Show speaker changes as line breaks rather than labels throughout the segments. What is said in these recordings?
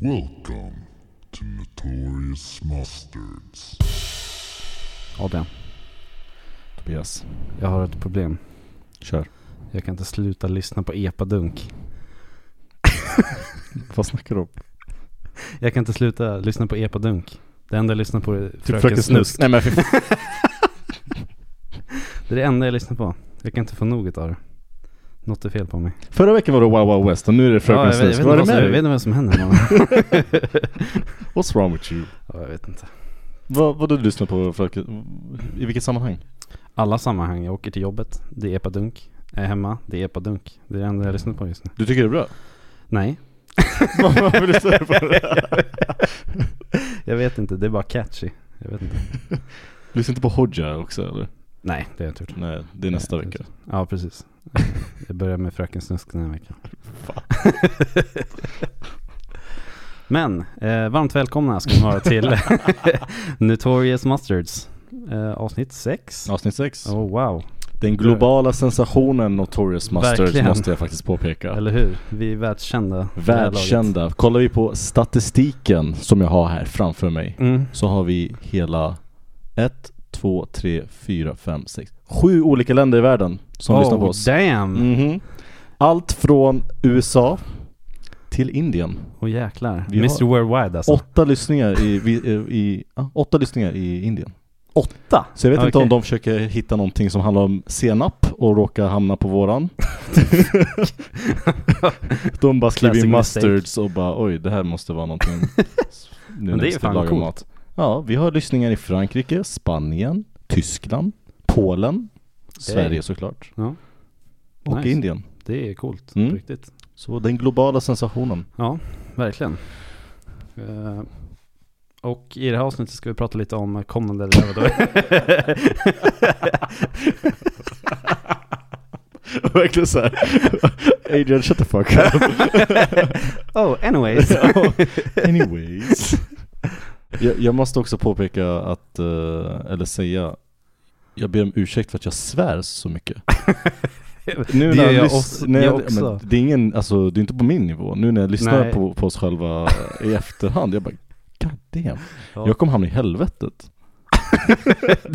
Welcome to Notorious Mustards.
Adrian. Tobias. Jag har ett problem.
Kör.
Jag kan inte sluta lyssna på epadunk.
Vad snackar du om? Typ
Jag kan inte sluta lyssna på epadunk. Det enda jag lyssnar på är Fröken,
Fröken
Snusk.
Nej men för fan.
Det är det enda jag lyssnar på. Jag kan inte få nog av det. Något är fel på mig.
Förra veckan var det Wow Wow West och nu är det Fröken
Ja, jag, vet-
Snusk.
jag, vet
Vad
inte
är
vad
det
som-
med dig?
jag vet inte vad som händer. Man.
What's wrong with you?
ja, jag vet inte.
Vad, vad du lyssnar på Fröken? I vilket sammanhang?
Alla sammanhang. Jag åker till jobbet. Det är epadunk. Jag är hemma. Det är epadunk. Det är det enda jag lyssnar på just nu.
Du tycker det är bra?
Nej.
Vad vill du säga på det?
Jag vet inte. Det är bara catchy. Jag vet inte.
Lyssnar inte på Hodja också eller?
Nej, det är jag tur.
Nej, det är nästa vecka.
Ja, precis. Jag börjar med Fröken Snusk den här veckan.
Fan.
Men, eh, varmt välkomna ska ni vara till Notorious Mustards, eh, avsnitt 6.
Avsnitt 6.
Oh wow,
Den globala sensationen Notorious Masters
Verkligen.
måste jag faktiskt påpeka.
eller hur? Vi är världskända. vid det här laget.
Världskända. Kollar vi på statistiken som jag har här framför mig
Mm.
så har vi hela 1, 2, 3, 4, 5, 6, 7 olika länder i världen som lyssnar på
Oh
oss.
damn! Åh
Mhm. Allt från USA till Indien.
Alltså. jäklar.
Vi har-
Mr Worldwide alltså.
Åtta lyssningar i, vi- eh, i, ja, åtta lyssningar i Indien.
Åtta?
Så jag vet inte
Ah, Okej.
om de försöker hitta någonting som handlar om senap och råkar hamna på våran. de bara skriver in
Classic mistake.
mustards och bara oj det här måste vara någonting. Nu
Men
när
det är
vi
ju
ska
fan
laga
coolt.
mat. Ja, vi har lyssningar i Frankrike, Spanien, Tyskland, Polen, Sverige såklart.
Ja.
Och
Nice.
Indien.
Det är coolt,
Mm.
på riktigt.
Så den globala sensationen.
Ja, verkligen. Eh, och i det här avsnittet ska vi prata lite om kommande eller vad
Verkligen såhär Adrian shut the fuck up
Oh, anyways.
Anyways jag, jag måste också påpeka att, eh, eller säga Jag ber om ursäkt för att jag svär så mycket nu
det
när
gör jag,
lys-
också,
när
jag
ja, men
också.
det är ingen, alltså det är inte på min nivå Nu när jag lyssnar
Nej.
på, på oss själva i efterhand Jag bara God damn.
Ja.
Jag kommer hamna i helvetet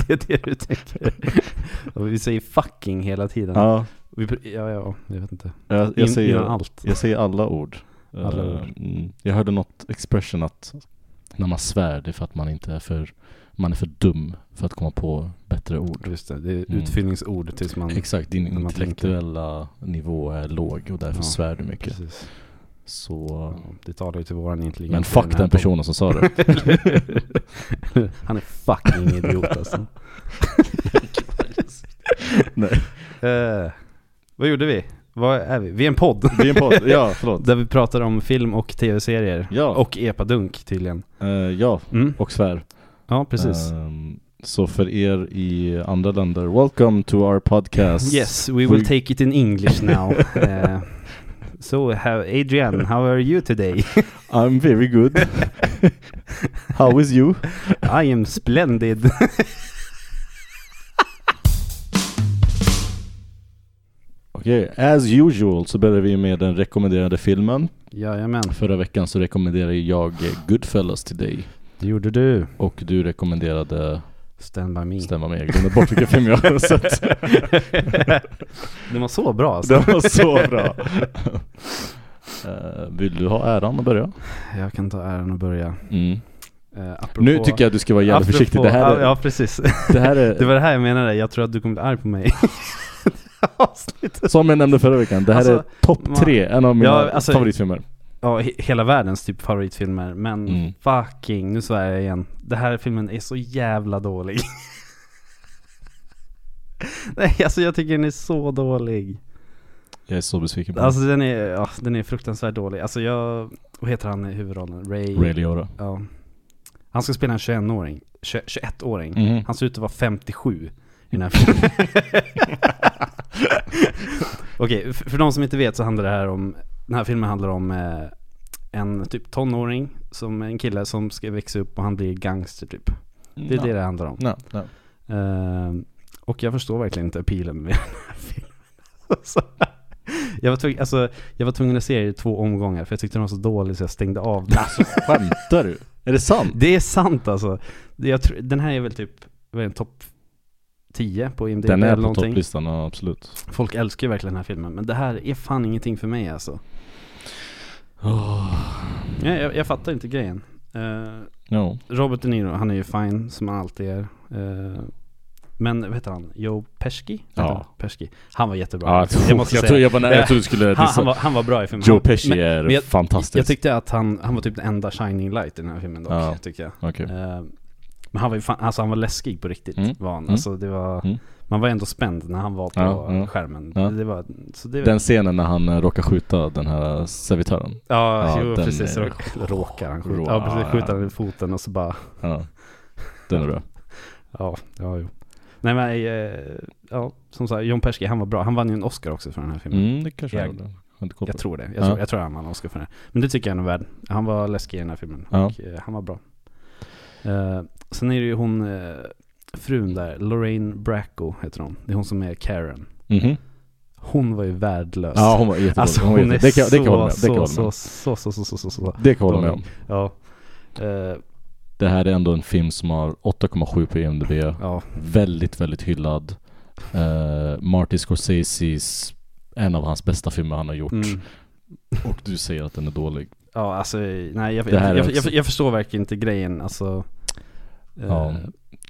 det är det du tänker. Och vi säger fucking hela tiden. Ja,
Ja,
vi, pr- ja, ja jag vet inte.
jag,
In,
jag säger
Innan allt.
Jag säger alla ord.
Alla
Eh,
ord.
mm. Jag hörde något expression att när man svär det är för att man inte är för, man är för dum för att komma på bättre ord.
Just det, det är
Mm.
utfyllningsord tills man...
Exakt, din Mm.
När man
intellektuella nivå är låg och därför
Ja,
svär du mycket.
Precis.
Så,
Ja, det talar ju till våran intelligens.
men
i
fuck
här
den personen som sa det.
podden. Han är fucking idiot alltså.
Nej.
Eh, vad gjorde vi? Vad är vi? Vi är en podd.
Det är en podd, ja förlåt.
Där vi pratar om film och tv-serier.
Ja, och,
Och epadunk tydligen.
ja,
Mm.
och svär.
Ja, precis.
Ehm, så för er i andra länder, welcome to our podcast.
Yes, we will take it in English now. Eh, so, how, Adrian, how are you today?
I'm very good. How is you?
I am splendid.
Okej, as usual så börjar vi med den rekommenderade filmen.
Jajamän,
Förra veckan så rekommenderade jag Goodfellas till dig
det gjorde du.
och du rekommenderade
Stand by me.
Stämma med, jag glömde bort vilken film jag hade sett.
Den var så bra alltså.
Den var så bra. Eh, vill du ha äran att börja?
Jag kan ta äran och börja.
Mm.
Eh, apropå...
Nu tycker jag att du ska vara jävligt
apropå-
försiktig. Det här
Ja,
är,
ja, precis.
det här
Det
är
var det här jag menade. Jag tror att du kommer bli arg på mig. Avsnittet.
som jag nämnde förra veckan, det här
Alltså,
är topp
man-
tre, en av mina
Ja, alltså-
favoritfilmer.
ja, he- hela världens typ favoritfilmer. Men
Mm.
fucking, nu svär jag igen. Det här filmen är så jävla dålig. Nej, alltså jag tycker den är så dålig.
Jag är så besviken på
Alltså den är, ja, den är fruktansvärt dålig. Alltså jag, vad heter han i huvudrollen? Ray?
Ray Liotta.
Ja. Han ska spela en 21-åring. 20 21-åring.
Mhm.
Han ser ut att vara 57 i den här filmen. Okej, f- för de som inte vet så handlar det här om, den här filmen handlar om eh, en typ tonåring, som en kille som ska växa upp och han blir gangster typ. Det är det det handlar om.
Nej, nej.
Eh, och jag förstår verkligen inte appealen med den här filmen. Alltså, Jag var, tvungen, alltså, jag var tvungen att se det i två omgångar för jag tyckte den var så dålig så jag stängde av den.
Alltså skämtar du? Är det sant?
Det är sant alltså. Det- Jag tror, den här är väl typ, vad är den, topp 10 på IMDB
Den är
eller
på
någonting.
topplistan, ja, absolut.
Folk älskar ju verkligen den här filmen men det här är fan ingenting för mig alltså. Jag, jag, jag fattar inte grejen. Eh,
Ja.
Robert De Niro, han är ju fine som han alltid är. Eh, men vad heter han? Joe Pesci? Heter
Ja.
han? Pesci. Han var jättebra.
Ja,
jag måste
jag
säga.
tror jag var nära,
Ja.
jag trodde du skulle
han, han,
dissa.
var, han var bra i filmen.
Joe
Han-
Pesci
men-
är
jag-
fantastisk.
Jag tyckte att han, han var typ den enda shining light i den här filmen dock,
Ja.
tycker jag.
Okej.
Eh, men han var ju fan, alltså han var läskig på riktigt
Typ. Mm.
var han.
Mm.
Alltså det var,
Mm.
man var ändå spänd när han var på
Ja, ja.
skärmen.
Ja.
Det var, så det,
Den scenen när han eh, råkar skjuta den här servitören.
ja,
ja,
jo,
den
precis.
är-
Råk, råkar han skjuta.
Rå-
ja, precis.
ja, ja.
Skjuter han i foten och så bara,
Ja. Den är bra.
ja, ja jo. Nej men, eh, ja, som sagt, John Persky, han var bra. Han vann ju en Oscar också för den här filmen.
Mm, det kanske
Jag-
jag gjorde. Jag har inte koll på
Jag
det.
tror det. Jag,
Ja.
tror, jag tror han vann Oscar för det. Men det tycker jag han är värd. Han var läskig i den här filmen
Ja.
och eh, han var bra. Eh, sen är det ju hon, eh, frun där, Lorraine Bracco heter hon. Det är hon som är Karen.
Mhm.
Hon var ju värdelös.
Ja, hon var jättebra.
alltså
hon var
hon, är
jätte... det kan, det kan jag hålla med.
så,
Det kan jag hålla
så,
med.
så, så, så, så, så, så.
Det kan jag hålla med om.
Ja. Eh,
Det här är ändå en film som har 8,7 på IMDB.
ja.
Väldigt, väldigt hyllad. Uh, Marty Scorseses, en av hans bästa filmer han har gjort.
Mm.
Och du säger att den är dålig.
Ja, alltså, nej jag,
Det här är
jag, jag, jag,
också-
jag förstår verkligen inte grejen alltså. Eh,
Ja.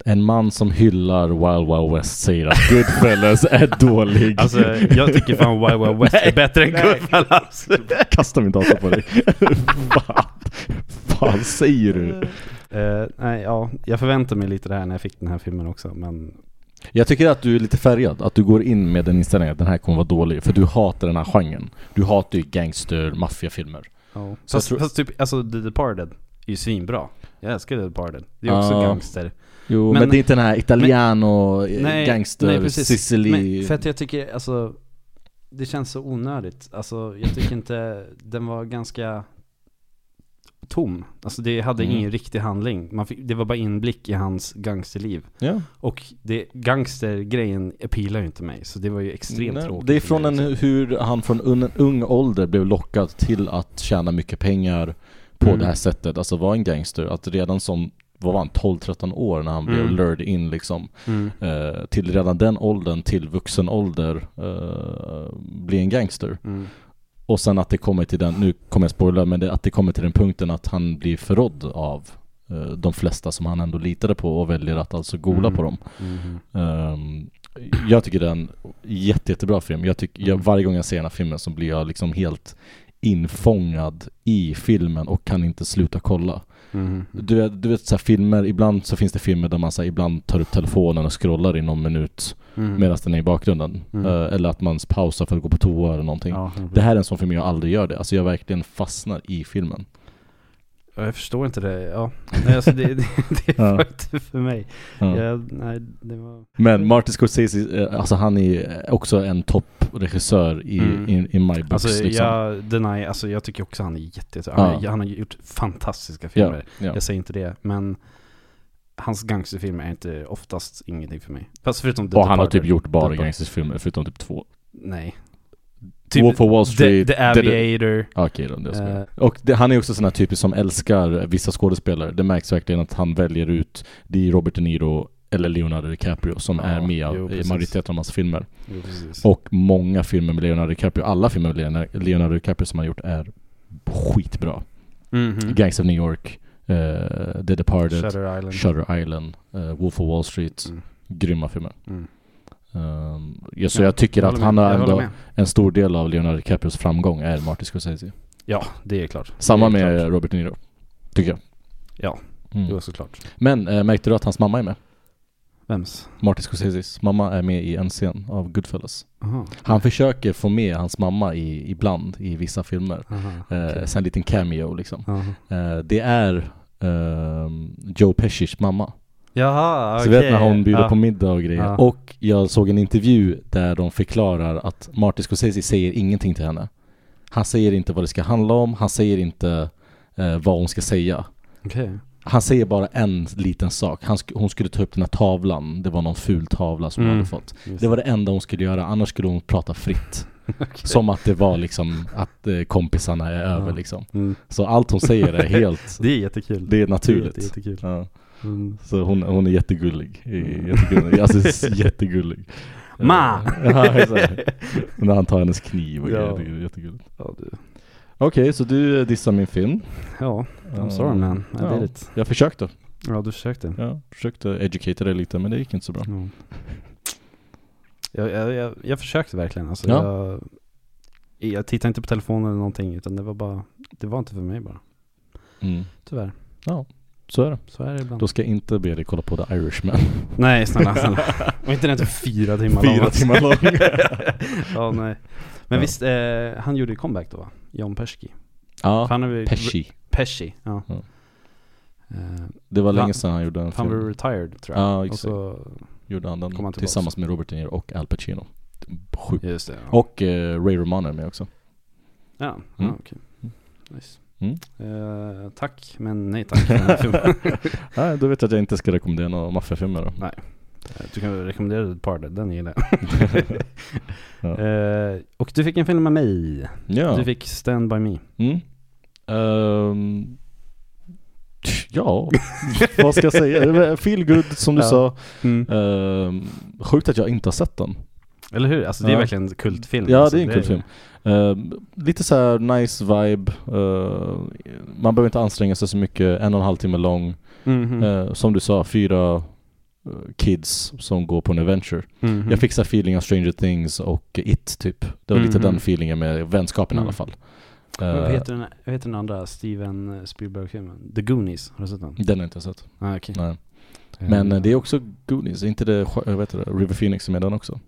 En man som hyllar Wild Wild West säger att Goodfellas är dålig.
Alltså jag tycker fan Wild Wild West är bättre än
nej.
Goodfellas.
Kasta min dator på dig. Fan. Fan säger du?
Eh, nej, ja, jag förväntade mig lite det här när jag fick den här filmen också, men
Jag tycker att du är lite färgad, att du går in med den inställningen att den här kommer vara dålig. För du hatar den här genren. Du hatar ju gangster, maffiafilmer.
ja.
Så
fast,
jag tror-
fast typ, alltså The Departed är ju svinbra. Jag älskar The Departed. Det är också
Ja.
gangster.
Jo,
men
men,
Men- det
det är
är
inte den här italiano, eh, gangster, Sicily.
Men för att jag tycker, alltså, det känns så onödigt. Alltså, jag tycker inte, den var ganska tom. Alltså det hade
Mm.
ingen riktig handling. Man fick, det var bara inblick i hans gangsterliv.
ja.
Och det, gangstergrejen appealar ju inte mig, så det var ju extremt
Nej,
tråkigt.
Det är
för
från
mig,
en,
liksom.
hur han från un, ung ålder blev lockad till att tjäna mycket pengar på
Mm.
det här sättet, alltså vara en gangster. Att redan som, vad var han, 12-13 år när han
Mm.
blev lured in liksom.
Mm.
Eh, till redan den åldern, till vuxen ålder, eh, bli en gangster.
Mm.
Och sen att det kommer till den, nu kommer jag spoila, men det, att det kommer till den punkten att han blir förrådd av eh, de flesta som han ändå litade på och väljer att alltså gola
Mm.
på dem.
Mhm.
Ehm, jag tycker den är en jätte, jättebra film. Jag tycker,
Mm.
jag, varje gång jag ser den här filmen så blir jag liksom helt infångad i filmen och kan inte sluta kolla.
Mhm.
Du, vet- du vet så här filmer, ibland så finns det filmer där man så här, ibland tar upp telefonen och scrollar i någon minut
Mm.
medan den är i bakgrunden.
Mm.
Eh, eller att man pausar för att gå på toa eller någonting.
Ja,
Det här är en sån film jag aldrig gör det. Alltså jag verkligen fastnar i filmen.
Ja, jag förstår inte det. Ja. Nej, alltså det, det, det
Ja.
var inte för mig.
Ja.
Jag, nej, det var...
Men Martin Scorsese, eh, alltså han är också en toppregissör i,
Mm.
i, i my books
Alltså,
liksom.
jag, deny, alltså jag tycker också han är jätte, jätte
Ja.
han, är- han har gjort fantastiska
ja,
filmer.
ja.
Jag säger inte det, men hans gangsterfilmer är inte oftast ingenting för mig. Fast förutom The
Och han har
Departed.
typ gjort bara
Departed.
gangsterfilmer förutom typ två.
Nej.
Wolf of Wall Street.
Typ The, The Aviator.
Ah, Okej då, det ska jag.
Eh.
Och det, han är också sån här typisk som älskar vissa skådespelare. Det märks verkligen att han väljer ut, det är Robert De Niro eller Leonardo DiCaprio som
Ja,
är med
jo,
i
precis.
majoriteten av hans filmer.
Jo, precis.
Och många filmer med Leonardo DiCaprio, alla filmer med Leonardo- Leonardo DiCaprio som han gjort är skitbra.
Mhm.
Gangs of New York, eh, The Departed, Shutter,
Shutter Island.
Island, eh, Wolf of Wall Street.
Mm.
Grymma filmer.
Mm.
Um, ja, så
Ja,
jag tycker
Jag
att
håller
han
med.
har
Jag
ändå
håller med.
En stor del av Leonardo DiCaprios framgång är Martin Scorsese.
Ja, det är klart.
Samma
Det är
med
klart.
Robert De Niro, tycker jag.
Ja,
Mm.
jo såklart.
Men eh, märkte du att hans mamma är med?
Vems?
Martin Scorseses mamma är med i en scen av Goodfellas.
Aha.
Han försöker få med hans mamma i, ibland i vissa filmer.
Aha.
Eh,
okej.
Så en liten cameo liksom.
Aha.
Eh, det är ehm, Joe Pescis mamma.
Jaha,
Så
okej.
du vet när hon bjuder
ja.
på middag och grejer.
Ja.
Och jag såg en intervju där de förklarar att Martin Scorsese säger ingenting till henne. Han säger inte vad det ska handla om, han säger inte eh, vad hon ska säga.
Okej.
Han säger bara en liten sak. Han sk- hon skulle ta upp den här tavlan, det var någon ful tavla som hon
Mm.
hade fått.
Just
Det var det enda hon skulle göra, annars skulle hon prata fritt. Som att det var liksom att eh, kompisarna är över
Ja.
liksom.
Mm.
Så allt hon säger är helt,
Det är jättekul.
det är
Det är
naturligt.
jättekul.
Ja.
Mm.
Så hon, hon är jättegullig. jättegullig. Alltså s- jättegullig. Eh,
Ma!
Ja, exakt. När han tar hennes kniv och
Ja.
grejer, det är jättegulligt.
Ja, du.
Okej, så du dissar min film.
ja I'm
Ja.
sorry man. I
Ja.
did it.
Jag försökte.
Ja, du försökte.
Ja, försökte educata dig lite men det gick inte så bra.
Ja. Jag, jag, jag, jag försökte verkligen. Alltså,
Ja.
jag, jag tittade inte på telefonen eller någonting utan det var bara, det var inte för mig bara.
Mm.
Tyvärr.
Så är det.
Så är det ibland.
Då ska jag inte be dig kolla på The Irishman.
Nej, snälla, snälla. Och inte den typ är fyra timmar
Fyra
lång.
timmar lång.
ja, nej. Men
Ja.
visst, eh, han gjorde ju comeback då va? John Pesci.
ja,
Han är väl-
Pesci.
Pesci, ja.
Ja.
Eh,
Det var länge
Han-
sedan han gjorde en
han var
film.
retired tror jag.
Ja,
Och
exakt.
så,
Gjorde han
kom
den
han tillbaks.
tillsammans med Robert De Niro och Al Pacino. Sjukt.
just det. Ja,
Och eh, Ray Romano är med också.
ja, ja
Mm.
okej. Nice.
Mm.
Eh, tack, men nej tack för den här filmen.
Nej, då vet jag att jag inte ska rekommendera några maffiafilmer då.
Eh, Du kan väl rekommendera ett par där, den gillar jag.
Ja.
Eh, och du fick en film av mig.
Ja.
Du fick Stand By Me.
Mm. Ehm, ja, vad ska jag säga? Feel good som du
Ja.
sa. Ehm, sjukt att jag inte har sett den.
Eller hur? Alltså det är
Ja.
verkligen en kultfilm.
Ja,
alltså,
det är en kul film. Ehm, lite så här nice vibe. Ehm, man behöver inte anstränga sig så mycket. En och en halv timme lång.
Mhm.
Ehm, som du sa, fyra eh, kids som går på en adventure.
Mhm.
Jag fick så här feeling av Stranger Things och It typ. Det var lite
Mhm.
den feelingen med vänskapen i
Mm.
alla fall.
Men Vad
Ehm,
heter, den, vad heter den andra Steven Spielberg-filmen? The Goonies, har du sett den?
den har jag inte sett.
Ah, okej.
Nej. Mm. Men eh, det är också Goonies, är inte det, sjö- eh, vad heter det River Phoenix som är den också?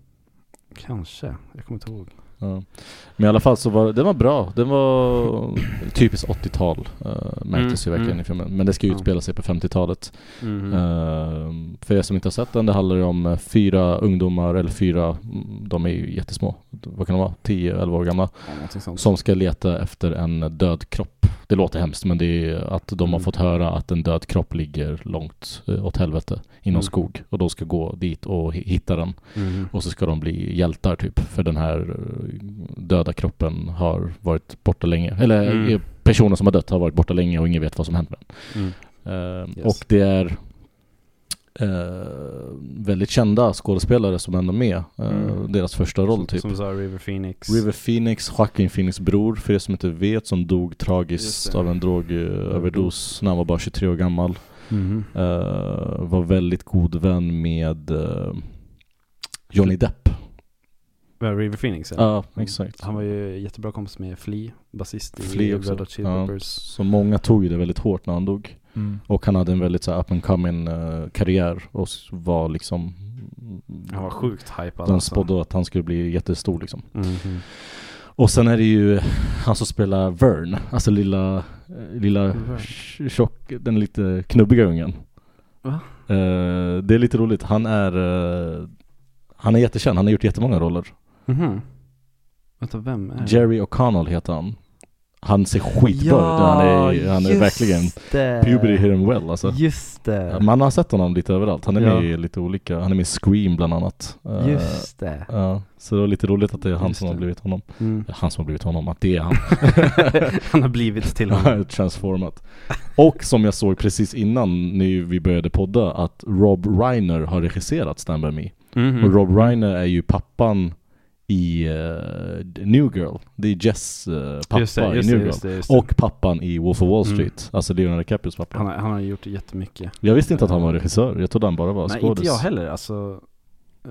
Kanske, jag kommer inte ihåg.
Ja. Men i alla fall så var den var bra, den var typiskt 80-tal eh, märktes
Mm,
ju verkligen
mm.
i filmen. Men det ska ju
Ja.
utspela sig på 50-talet.
Mhm.
Mm-hmm. Eh, för er som inte har sett den, det handlar ju om eh, fyra ungdomar, eller fyra, mm, de är ju jättesmå, vad kan de vara, 10-11 år gamla.
Ja, någonting sånt.
Som ska leta efter en död kropp. Det låter hemskt men det är att de har
Mm.
fått höra att en död kropp ligger långt eh, åt helvete i någon
Mm.
skog. Och de ska gå dit och hi- hitta den.
Mhm.
Och så ska de bli hjältar typ. För den här eh, döda kroppen har varit borta länge. Eller
Mm.
eh, personen som har dött har varit borta länge och ingen vet vad som hänt med den.
Mm.
Eh,
Yes.
Och det är eh, väldigt kända skådespelare som ändå är med. Eh,
Mm.
Deras första roll typ.
Som du sa, River Phoenix.
River Phoenix, Joaquin Phoenix bror, för er som inte vet, som dog
Just
tragiskt
det.
av en drogöverdos när han var bara 23 år gammal.
Mhm.
Eh, var väldigt god vän med eh, Johnny Depp.
Ja, River Phoenix, eller?
Ja, exakt.
Han var ju jättebra kompis med Flea, basist i
Flea också.
Red Hot Chili
Ja. Mm.
Peppers.
Så många tog ju det väldigt hårt när han dog. Och han hade en väldigt så här, up and coming eh, karriär och s- var liksom...
Han var alltså. sjukt hypad
Den spådde att han skulle bli jättestor liksom.
Mhm.
Och sen är det ju han som spelar Vern, alltså lilla, eh, lilla
Vern.
tj- tjock, den lite knubbiga ungen.
Va?
Eh, det är lite roligt, han är, eh, han är jättekänd, han har gjort jättemånga roller.
Mhm. Vänta, vem är det?
Jerry O'Connell heter han. Han ser skitbra ut, han är, han är
just
verkligen
det.
puberty hit him well alltså.
Just det.
Man har sett honom lite överallt, han är
Ja.
med i lite olika, han är med i Scream bland annat. Eh,
Just det.
Ja, så det var lite roligt att det är han
Just
som har
det.
blivit honom.
Mm.
Han som har blivit honom, att det är han.
Han har blivit till honom.
transformat. Och som jag såg precis innan nu vi började podda att Rob Reiner har regisserat Stand By Me.
Mhm.
Och Rob Reiner är ju pappan i eh, New Girl. Det är Jess eh, pappa
Just det, just
i
det,
New Girl.
just det, just det.
Och pappan i Wolf of Wall
Mm.
Street, alltså Leonardo DiCaprios pappa.
han, har- han har gjort jättemycket.
Jag visste inte att han var regissör, jag trodde han bara var
Nej,
skådis.
inte jag heller. Alltså, eh,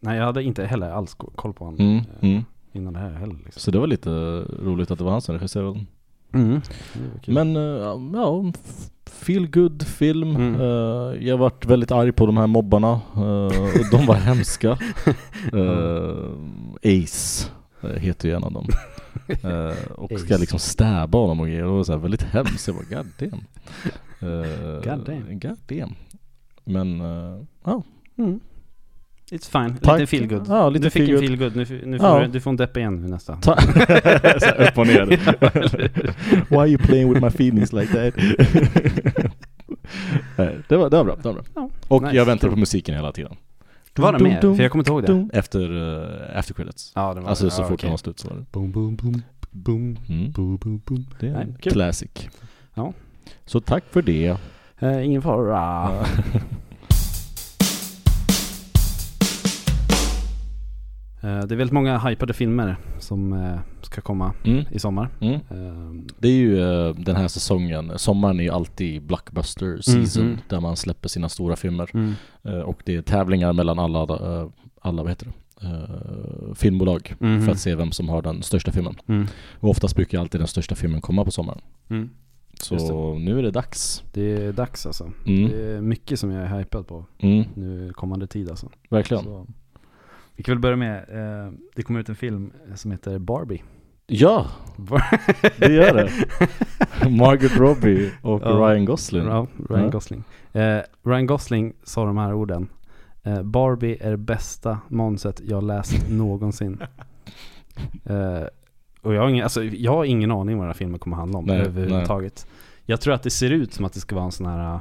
nej, jag hade inte heller alls ko- koll på honom
Mm,
eh,
mm.
innan det här heller. Liksom.
Så det var lite roligt att det var han som regisserade den.
Mm. Men,
Men eh, ja, f- feel good film.
Mm.
Eh, jag varit väldigt arg på de här mobbarna. eh, och de var hemska. Eh, Ace eh, heter ju en av dem. Eh, och ska
Ace.
liksom stäba honom och grejer. Och det var så här väldigt hemskt. Jag bara god damn. Uh,
God damn.
God damn. Men eh, ja,
mm. It's fine,
Tack.
lite feelgood.
Ja, lite
du fick
feelgood.
en feelgood, nu, f- nu får
Ja.
du, du får en depp igen nu nästa.
Ta- Så här upp och ner. Why are you playing with my feelings like that? Nej, det, var, det var bra. Det var bra.
Ja,
Och
nice.
jag väntade på musiken hela tiden.
Var det med? För jag kommer inte ihåg det.
Efter, eh, efter credits.
Ja, det var
Alltså
det.
så
ja,
fort
okej.
den var slut så var det.
Boom, boom, boom, boom,
Mm.
boom, boom, boom.
Det är
Nej,
en
kul.
classic.
Ja.
Så tack för det.
Eh, ingen fara. Eh, det är väldigt många hypade filmer som eh, ska komma
Mm.
i sommar.
Mm.
Ehm,
Det är ju eh, den här säsongen, sommaren är ju alltid blockbuster season
Mhm.
där man släpper sina stora filmer. Eh, och det är tävlingar mellan alla, eh, alla vad heter det? Eh, filmbolag
Mhm.
för att se vem som har den största filmen.
Mm.
Och oftast brukar alltid den största filmen komma på sommaren.
Mm. Just
Så nu är det dags.
Det är dags alltså.
Mm.
Det är mycket som jag är hypad på
Mm.
nu kommande tid alltså.
Verkligen.
Så. Vi kan väl börja med, eh, det kommer ut en film som heter Barbie.
Ja,
Bar-
det gör det. Margaret Robbie och
Ja.
Ryan Gosling.
Ja, Ryan
Ja.
Gosling. Eh, Ryan Gosling sa de här orden. Eh, Barbie är det bästa manuset jag läst någonsin. Eh, och jag har, ingen, alltså, jag har ingen aning vad den här filmen kommer handla om
Nej,
överhuvudtaget. Jag tror att det ser ut som att det ska vara en sån här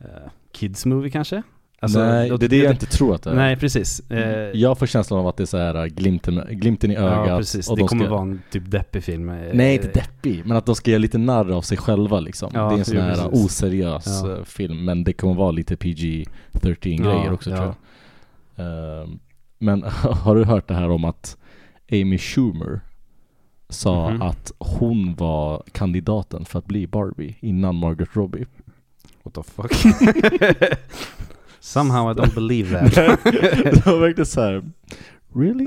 eh, kids movie kanske? Alltså,
Nej, det är det jag inte tror att det är.
Nej, precis. Eh,
Jag får känslan av att det är så här eh, glimten, glimten i ögat.
Ja, precis.
och
Det
de
kommer
ska,
vara en typ deppig film. eh,
Nej, inte deppig, men att de ska göra lite narr av sig själva liksom.
Ja,
det är en sån
jo,
här
precis.
oseriös
Ja.
eh, film, men det kommer vara lite PG-13 grejer
Ja,
också
ja.
tror jag. Ehm, men har du hört det här om att Amy Schumer sa
Mhm.
att hon var kandidaten för att bli Barbie innan Margaret Robbie?
What the fuck? Somehow I don't believe that.
det var verkligen såhär, really?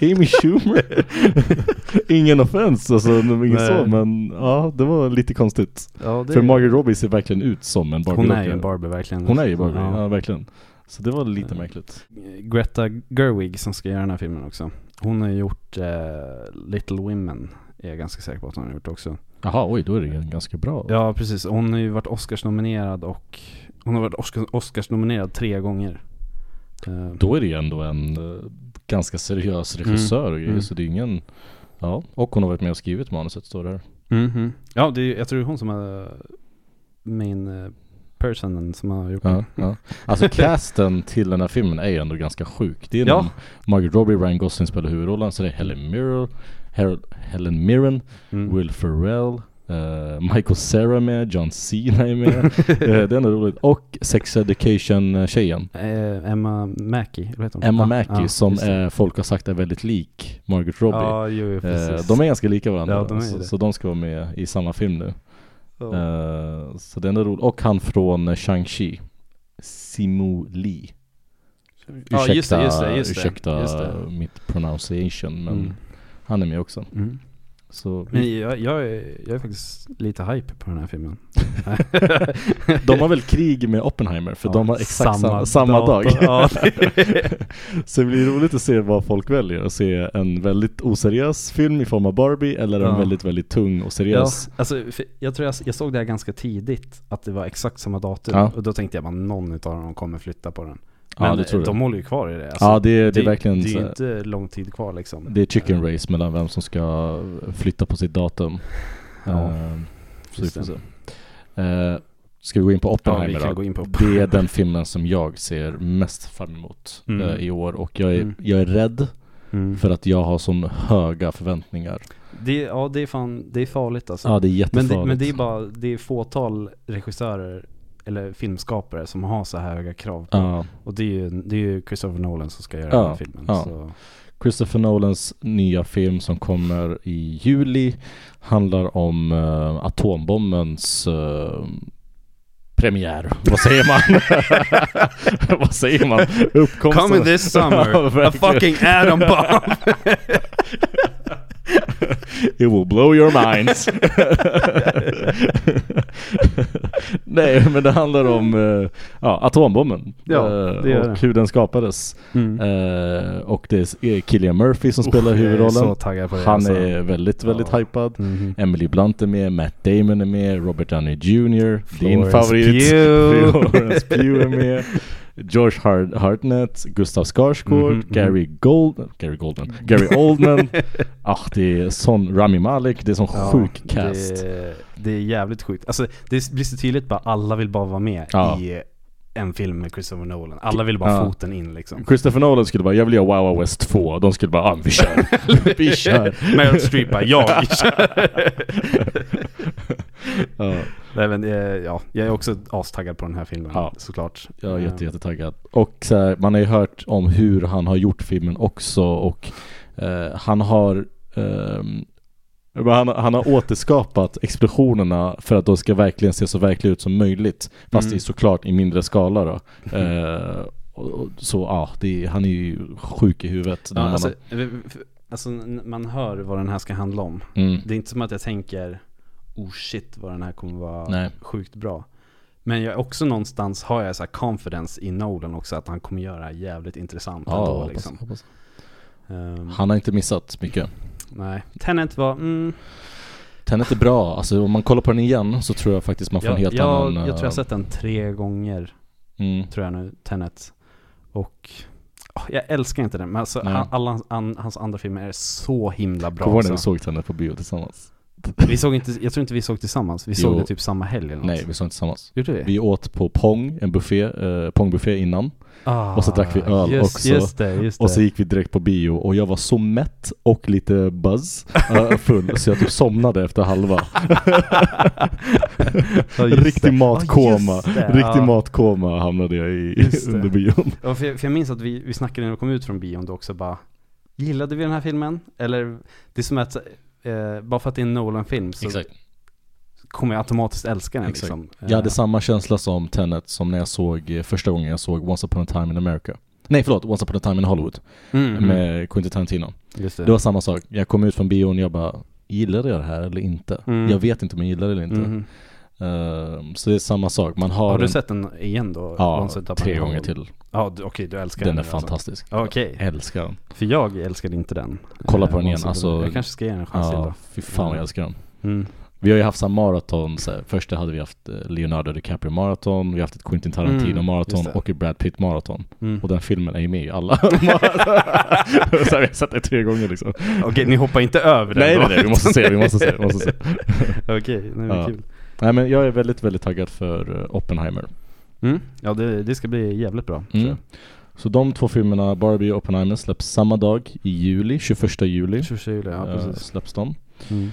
Amy Schumer? ingen offense, alltså, ingen
Nej.
så, men ja, det var lite konstigt.
Ja, det-
För Margaret Robbie ser verkligen ut som en Barbie.
Hon är ju
verkligen.
en Barbie verkligen.
Hon är ju Barbie, ja.
Ja. Eh.
verkligen. Så det var lite
Ja.
märkligt.
Greta Gerwig som ska göra den här filmen också. Hon har ju gjort eh, Little Women. Är jag ganska säker på att hon har gjort också.
Jaha, oj, då är det ju ganska bra.
Ja precis, hon har ju varit Oscarsnominerad och hon har varit Oscar, Oscarsnominerad tre gånger. Eh,
Då är det ju ändå en eh, ganska seriös regissör och grejer,
Mm.
så det är ingen... Ja, och hon har varit med och skrivit manuset, står det här.
mhm. Ja, det är, jag tror det är hon som har main eh, personen som har gjort
Ja,
det.
ja. Alltså casten till den här filmen är ju ändå ganska sjuk. Det är
Ja.
någon- Margaret Robbie, Ryan Gosling spelar huvudrollen, så det är Helen Mirren, Her- Helen Mirren,
Mm.
Will Ferrell, eh, Michael Cera är med, John Cena är med. Eh, det är ändå roligt. Och Sex Education-tjejen.
Eh, Emma Mackey, eller vad heter hon?
Emma
Ja,
Mackey
Ah, ja,
som
just det.
eh, folk har sagt är väldigt lik Margaret Robbie.
Ja, jo, jo,
Eh,
precis.
de är ganska lika varandra,
Ja, de är ju
så,
det.
så de ska vara med i samma film nu.
Ja.
Eh, så det är ändå roligt. Och han från eh, Shang-Chi, Simu Lee. Ursäkta,
ja, just det, just det, just det.
ursäkta
Just det.
mitt pronunciation, men
Mm.
han är med också.
Mm.
Så
Men jag, jag, är, jag är faktiskt lite hype på den här filmen.
de har väl krig med Oppenheimer, för
Ja,
de har exakt samma, samma, dag.
dator. Ja,
Så det blir roligt att se vad folk väljer, att se en väldigt oseriös film i form av Barbie eller en
Ja.
väldigt, väldigt tung och
ja,
seriös.
alltså, för jag tror jag, jag såg det här ganska tidigt, att det var exakt samma datum.
Ja.
Och då tänkte jag bara någon utav dem kommer flytta på den.
Ja,
Men
det tror jag.
de håller ju kvar i det. Alltså,
Ja, det, är- det är verkligen
Det är
så
ju
här-
inte lång tid kvar liksom.
det är chicken race mellan vem som ska flytta på sitt datum.
Ja,
Ehm, så vi
just
får se.
det.
Eh, ska vi gå in på
Ja,
Oppenheimer
vi
då?
kan gå in på.
Det är den filmen som jag ser mest fram emot
Mm.
eh, i år och jag är,
Mm.
jag är rädd
Mm.
för att jag har sån höga förväntningar.
Det, ja, det är fan, det är farligt alltså.
Ja det är
Men
jättefarligt.
det, men det är bara, det är fåtal regissörer eller filmskapare som har så här höga krav på.
Ja.
Och det är, ju, det är ju Christopher Nolan som ska göra
Ja,
den här filmen.
ja.
Så.
Christopher Nolans nya film som kommer i juli handlar om eh, atombombens eh, premiär. Vad säger man? Vad säger man? Uppkomsten.
Coming this
Ja,
summer, a
verkligen.
fucking atom bomb!
It will blow your minds. Nej, men det handlar om eh, ja, atombomben
Ja,
Eh,
det gör
och
det.
hur den skapades. Eh, och det är Killian Murphy som spelar
Mm. Jag är så
huvudrollen.
taggad på det.
Han
alltså.
är väldigt, väldigt
Ja.
hypad.
Mhm.
Emily Blunt är med, Matt Damon är med, Robert Downey Jr. din
Florence
favorit.
Pugh.
Florence Pugh är med. George Hart- Hartnett, Gustav Skarsgård,
Mhm, mhm.
Gary Gold, Gary Goldman, Gary Oldman. ah, det är sån Rami Malek, det är sån
Ja,
sjuk cast.
Det, det är jävligt sjukt. Alltså det blir så tydligt bara alla vill bara vara med
Ja.
i en film med Christopher Nolan. Alla vill bara
Ja.
foten in liksom.
Christopher Nolan skulle bara, jag vill göra Wow Wow West 2. De skulle bara, ah, men vi kör. vi kör.
Meryl Streep bara, jag
Ja,
Nej, men, eh, ja, jag är också astaggad på den här filmen
Ja.
såklart.
jag är
Eh,
jätte, jättetaggad. Ehm. Och så här, man har ju hört om hur han har gjort filmen också och eh, han har ehm, men han, han har återskapat explosionerna för att de ska verkligen se så verkliga ut som möjligt. Fast
Mm.
det är såklart i mindre skala då. Eh, och, och, så ja, det är, han är ju sjuk i huvudet.
Ja,
när man
alltså,
har-
vi- vi- alltså, n- man hör vad den här ska handla om.
mm,
Det är inte som att jag tänker, oh shit vad den här kommer vara
nej.
sjukt bra. Men jag är också någonstans, har jag så här confidence i Nolan också, att han kommer göra jävligt intressant
Ja,
ändå
hoppas,
liksom.
hoppas.
Ehm,
Han har inte missat mycket.
nej. Tenet var, mm,
Tenet är bra, alltså om man kollar på den igen så tror jag faktiskt man får
jag,
en helt
jag,
annan...
jag tror jag
eh,
har sett den tre gånger,
Mm,
tror jag nu, Tenet. Och ah, jag älskar inte den, men alltså,
Nej.
han, alla hans, an, hans andra filmer är så himla bra.
Kommer du ihåg när vi
alltså.
såg Tenet på bio tillsammans?
Vi såg inte, jag tror inte vi såg tillsammans, vi
Jo.
såg det typ samma helg eller något.
Nej, vi såg inte tillsammans.
Gjorde vi?
Vi åt på Pong, en buffé, eh, Pongbuffé innan. Eh.
Ah,
och så drack vi öl
just,
också.
Just det, just det.
Och så gick vi direkt på bio och jag var så mätt och lite buzz, eh, full, så jag typ somnade efter halva.
Ja, just det.
Riktig matkoma.
Ja, just det.
Riktig
Ja.
matkoma hamnade jag i
Just det.
under bion.
Ja, för, jag, för jag minns att vi, vi snackade när vi kom ut från bion då också bara Gillade vi den här filmen? Eller det är som att eh, bara för att det är en Nolan-film så kommer jag automatiskt älska den
Exakt.
liksom. Eh,
Jag hade samma känsla som Tenet som när jag såg eh, första gången jag såg Once upon a time in America. Nej förlåt, Once upon a time in Hollywood
mm, mm.
med Quentin Tarantino.
Just det.
Det var samma sak. Jag kom ut från bion och jag bara Gillade jag det här eller inte?
Mm.
Jag vet inte om jag gillar det eller inte.
Mhm.
Ehm, så det är samma sak. Man har,
Har du
en-
sett den igen då?
Ja,
Once Upon a
tre
Time?
gånger till.
Ja, du- okej du älskar
Den
den.
är
nu alltså.
fantastisk.
Ja, Okej,
Jag älskar den.
för jag älskade inte den.
Kolla på
Eh,
den igen,
Once Upon a-
alltså-
Jag kanske ska ge den en chans till
Ja,
då.
fy fan vad
Mm.
jag älskar den.
Mm.
Vi har ju haft så här maraton, så här, först hade vi haft eh, Leonardo DiCaprio maraton, vi har haft ett Quentin Tarantino
Mm,
maraton
just det.
och ett Brad Pitt maraton.
Mm.
Och den filmen är ju med i alla. så här, vi har sett det tre gånger liksom.
Okej, ni hoppar inte över den
Nej,
då?
nej, nej, vi måste se, vi måste se, vi måste se.
Okej, nej, men
Ja.
kul.
Nej men jag är väldigt, väldigt taggad för eh, Oppenheimer.
Mm. Ja, det, det ska bli jävligt bra. tror
Mm. Så de två filmerna, Barbie och Oppenheimer, släpps samma dag i juli, 21 juli.
jag. 21 juli, ja
eh,
precis.
släpps de.
Mm.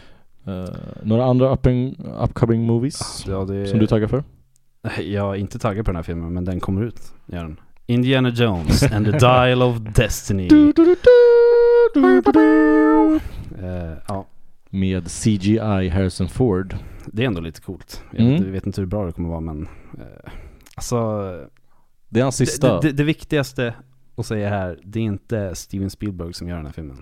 Eh, några andra upping, upcoming movies
Ja, det...
som du är taggad för?
Jag är inte taggad på den här filmen, men den kommer ut. Gör den. Indiana Jones and the Dial of Destiny. Eh, ja,
Med CGI Harrison Ford.
det är ändå lite coolt. Jag
Mm.
vet, jag vet inte hur bra det kommer vara, men... eh, alltså...
Det är hans
Det,
sista.
det, det, det viktigaste att säga här, det är inte Steven Spielberg som gör den här filmen.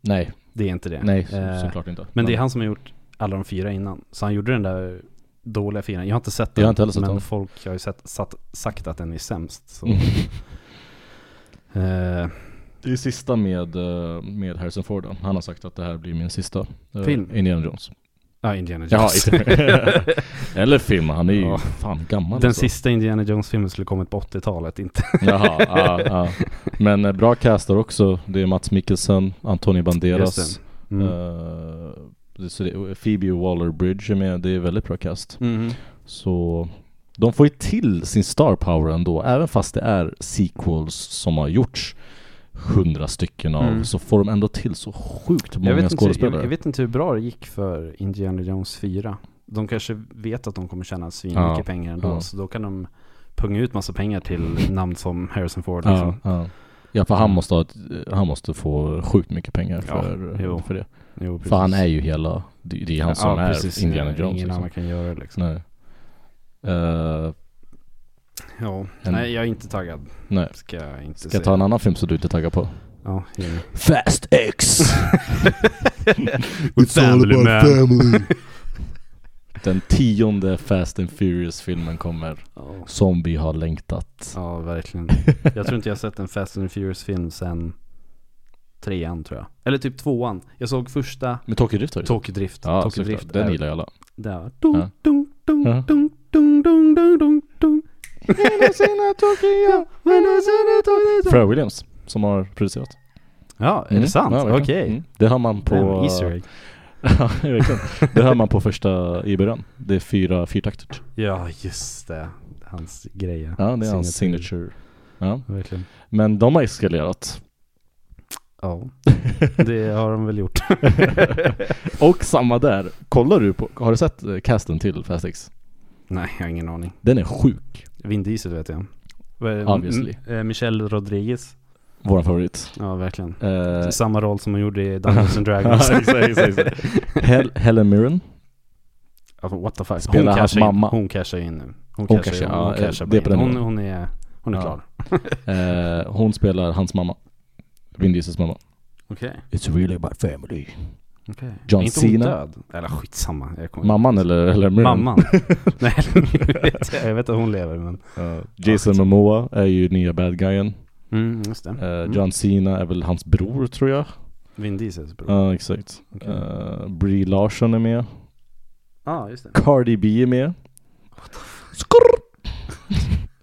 Nej,
Det är inte det.
nej
Eh,
så, såklart inte.
Men det är han som har gjort alla de fyra innan. Så han gjorde den där dåliga fyran. Jag har inte sett den.
Jag har inte heller sett
men
den.
folk har ju sett, satt, sagt att den är sämst. Så.
Mm.
Eh,
Det är sista med, eh, med Harrison Ford då. Han har sagt att det här blir min sista eh,
Film.
Indiana Jones.
Ja, Indiana
Jaha,
Jones.
inte- Eller film, han är ju
Ja.
fan gammal
Den
alltså.
sista Indiana Jones-filmen skulle kommit på 80-talet, inte...
Jaha, ja, ja. Men eh, bra castar också. Det är Mats Mikkelsen, Antonio Banderas.
Just det. Mm.
Eh, det- så det, Phoebe Waller-Bridge är med, det är väldigt bra cast.
Mhm.
Så de får ju till sin star power ändå, även fast det är sequels som har gjorts hundra stycken av,
Mm.
så får de ändå till så sjukt
Jag,
många
vet inte, jag,
skådespelare.
jag vet inte hur bra det gick för Indiana Jones 4. De kanske vet att de kommer tjäna svinmycket
Ja,
pengar ändå,
ja. Mm.
så då kan de punga ut massa pengar till namn som Harrison Ford.
ja,
Liksom.
ja. ja, för han måste, ha ett, han måste få sjukt mycket pengar
Mm. Ja,
för,
jo.
för det.
Jo, precis.
För han är ju hela, det, det är han som är Indiana Jones.
Ingen
liksom.
annan kan göra det liksom.
Nej. Eh,
Ja.
En-
Nej, jag är inte taggad.
nej.
Ska jag inte
Ska
säga.
jag ta en annan film som du inte är taggad på?
Ja, ge mig.
Fast X!
It's all
Family
about
man.
family.
Den tionde Fast and Furious-filmen kommer.
Ja.
Som vi har längtat.
Ja, verkligen. Jag tror inte jag har sett en Fast and Furious film sen trean tror jag. Eller typ tvåan. Jag såg första
Men Tokyo Drift har ju
Tokyo Drift.
Ja,
Tokyo
såklart.
Drift
Den
är-
gillar ju alla.
Där.
Ja.
Dung, dung, dung,
Ja.
dung, dung, dung, dung, dung, dung.
Pharrell Williams, som har producerat.
Ja, är det
Mm.
sant?
Ja, verkligen.
Okej.
Mm. Det hör man på...
Damn, Easter egg.
Ja, verkligen. Det hör man på första i början. Det är fyra fyrtakter.
Ja, just det. hans grejer.
Ja, det är hans signature. Ja.
Verkligen.
Men de har eskalerat.
Ja, det har de väl gjort.
och samma där. Kollar du på, har du sett eh, casten till Fast X?
Nej, jag har ingen aning.
Den är sjuk.
Vin Diesel vet jag.
Obviously.
M- eh, Michelle Rodriguez.
Våran favorit.
Ja, verkligen.
Eh,
Samma roll som hon gjorde i Dungeons and Dragons.
Ja, exakt, exakt, exakt. Hel- Helen Mirren.
Alltså, what the fuck.
Spelar hans
hon cashar in.
mamma.
Hon cashar in nu. Hon,
Hon
cashar
cashar-
in.
ja,
Hon,
eh,
cashar
det är
bara
på den
in. hon,
nivån.
hon är, hon är
Ja.
klar.
Eh, hon spelar hans mamma. Vin Diesels mamma.
Okej.
It's really about family.
okej.
John
är inte hon
Cena.
död? Eller skitsamma. Jag kommer-
Mamman eller Helen Mirren?
Mm. Mamman? Nej, jag vet, jag vet att hon lever men...
Eh, Jason Momoa är ju nya bad guyen.
Mm, just det.
Eh,
Mm.
John Cena är väl hans bror tror jag.
Vin Diesels bror. Ja,
Ja, exakt.
Okej.
Eh, Brie Larson är med.
ah, just det.
Cardi B är med. Skrrr!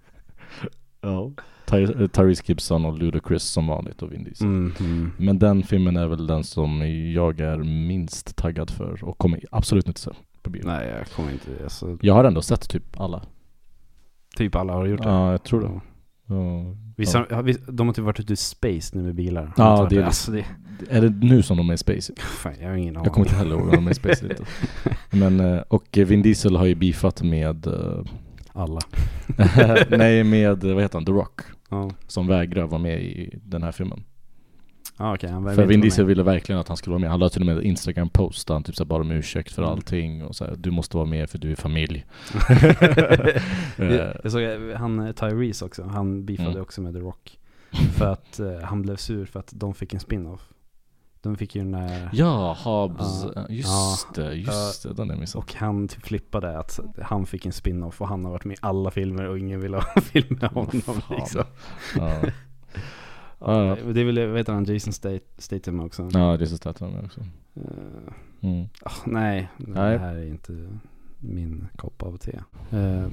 ja. Ty- eh, Tyrese Gibson och Ludacris som vanligt och Vin Diesel.
Mm, mm.
Men den filmen är väl den som jag är minst taggad för och kommer absolut inte se på bio.
Nej, jag kommer inte... Alltså,
Jag har ändå sett typ alla.
typ alla har gjort det.
Ja, jag tror det.
Ja.
Ja.
Vissa, ja. vi, de har typ varit ute i space nu med bilar.
Ja,
Antar jag.
det är-
alltså, det.
Är det nu som de är i Space?
Fan, jag har ingen aning.
Jag kommer inte heller ihåg om de är i Space eller inte. Men, eh, och eh, Vin Diesel har ju beefat med, eh,
Alla.
nej med, eh, vad heter han, The Rock.
Ja,
Som vägrar vara med i den här filmen.
ah, okej. han
för
behöver
Vin
inte
Diesel
vara med.
ville verkligen att han skulle vara med. Han la till och med en Instagram-post där han typ så här bad om ursäkt för
Mm.
allting och så här, du måste vara med för du är familj.
jag, jag såg eh, han eh, Tyrese också. Han beefade
Mm.
också med The Rock. För att eh, han blev sur för att de fick en spin-off. De fick ju den där...
Ja, Hobbs. Just
Ja.
det, just det. Den är missad.
Och han typ flippade att han fick en spin-off och han har varit med i alla filmer och ingen ville ha en film med honom.
Fan.
Liksom.
Ja. Ja, ja.
Det är väl, vad heter han, Jason Stat- Statham också?
ja, det är så Statham också.
Eh,
Mm.
ah, nej,
Nej.
det här är inte min kopp av te. Eh,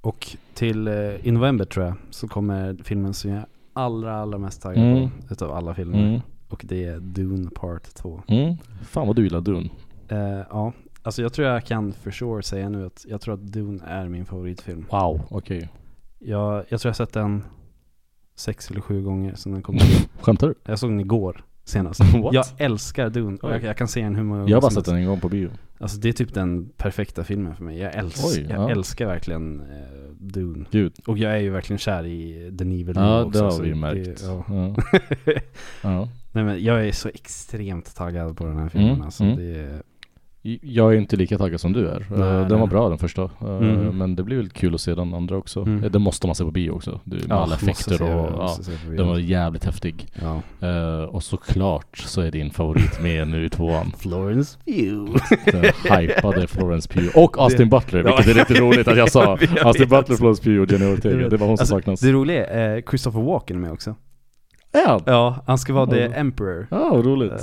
och till eh, i november tror jag så kommer filmen som jag är allra, allra mest taggad
Mm.
på utav alla filmer.
Mm.
Och det är Dune Part 2.
Mm. Fan vad du gillar Dune.
Eh, ja, alltså jag tror jag kan for sure säga nu att jag tror att Dune är min favoritfilm.
Wow, okej.
Jag, jag tror jag sett den sex eller sju gånger sedan den kom ut.
Skämtar du?
Jag såg den igår senast.
What?
Jag älskar Dune och jag,
Oj.
jag kan se den hur många gånger
Jag har bara
som
sett den en gång på bio.
Alltså det är typ den perfekta filmen för mig. Jag, älsk,
Oj,
jag
ja.
älskar verkligen eh, Dune.
Gud.
Och jag är ju verkligen kär i Denis
Ja, det
också.
har
så
vi ju märkt.
det- ja.
Ja. Ja.
Nej men jag är så extremt taggad på den här filmen
Mm,
alltså.
mm.
Det är,
Jag är inte lika taggad som du är. Eh,
Nej,
den
nej.
var bra den första. Eh,
Mm.
Men det blir väl kul att se den andra också.
Mm.
Eh, Den måste man se på bio också. Det, med alla
måste se
effekter
det,
och... Ja,
måste se det på
den
video.
var jävligt häftig.
ja.
Eh, och såklart så är din favorit med nu i tvåan.
Florence Pugh.
Den eh, hypade Florence Pugh och Austin Butler,
Ja.
vilket är lite roligt att jag sa. Alltså,
Jag
Austin
vet.
Butler, Florence Pugh och Jenny
Jag
Ortega.
vet.
Det var hon som
Alltså,
saknas.
Det roliga är eh, Christopher Walken är med också.
Ja,
Ja, han ska vara the
Ja.
emperor.
ja vad roligt.
Eh,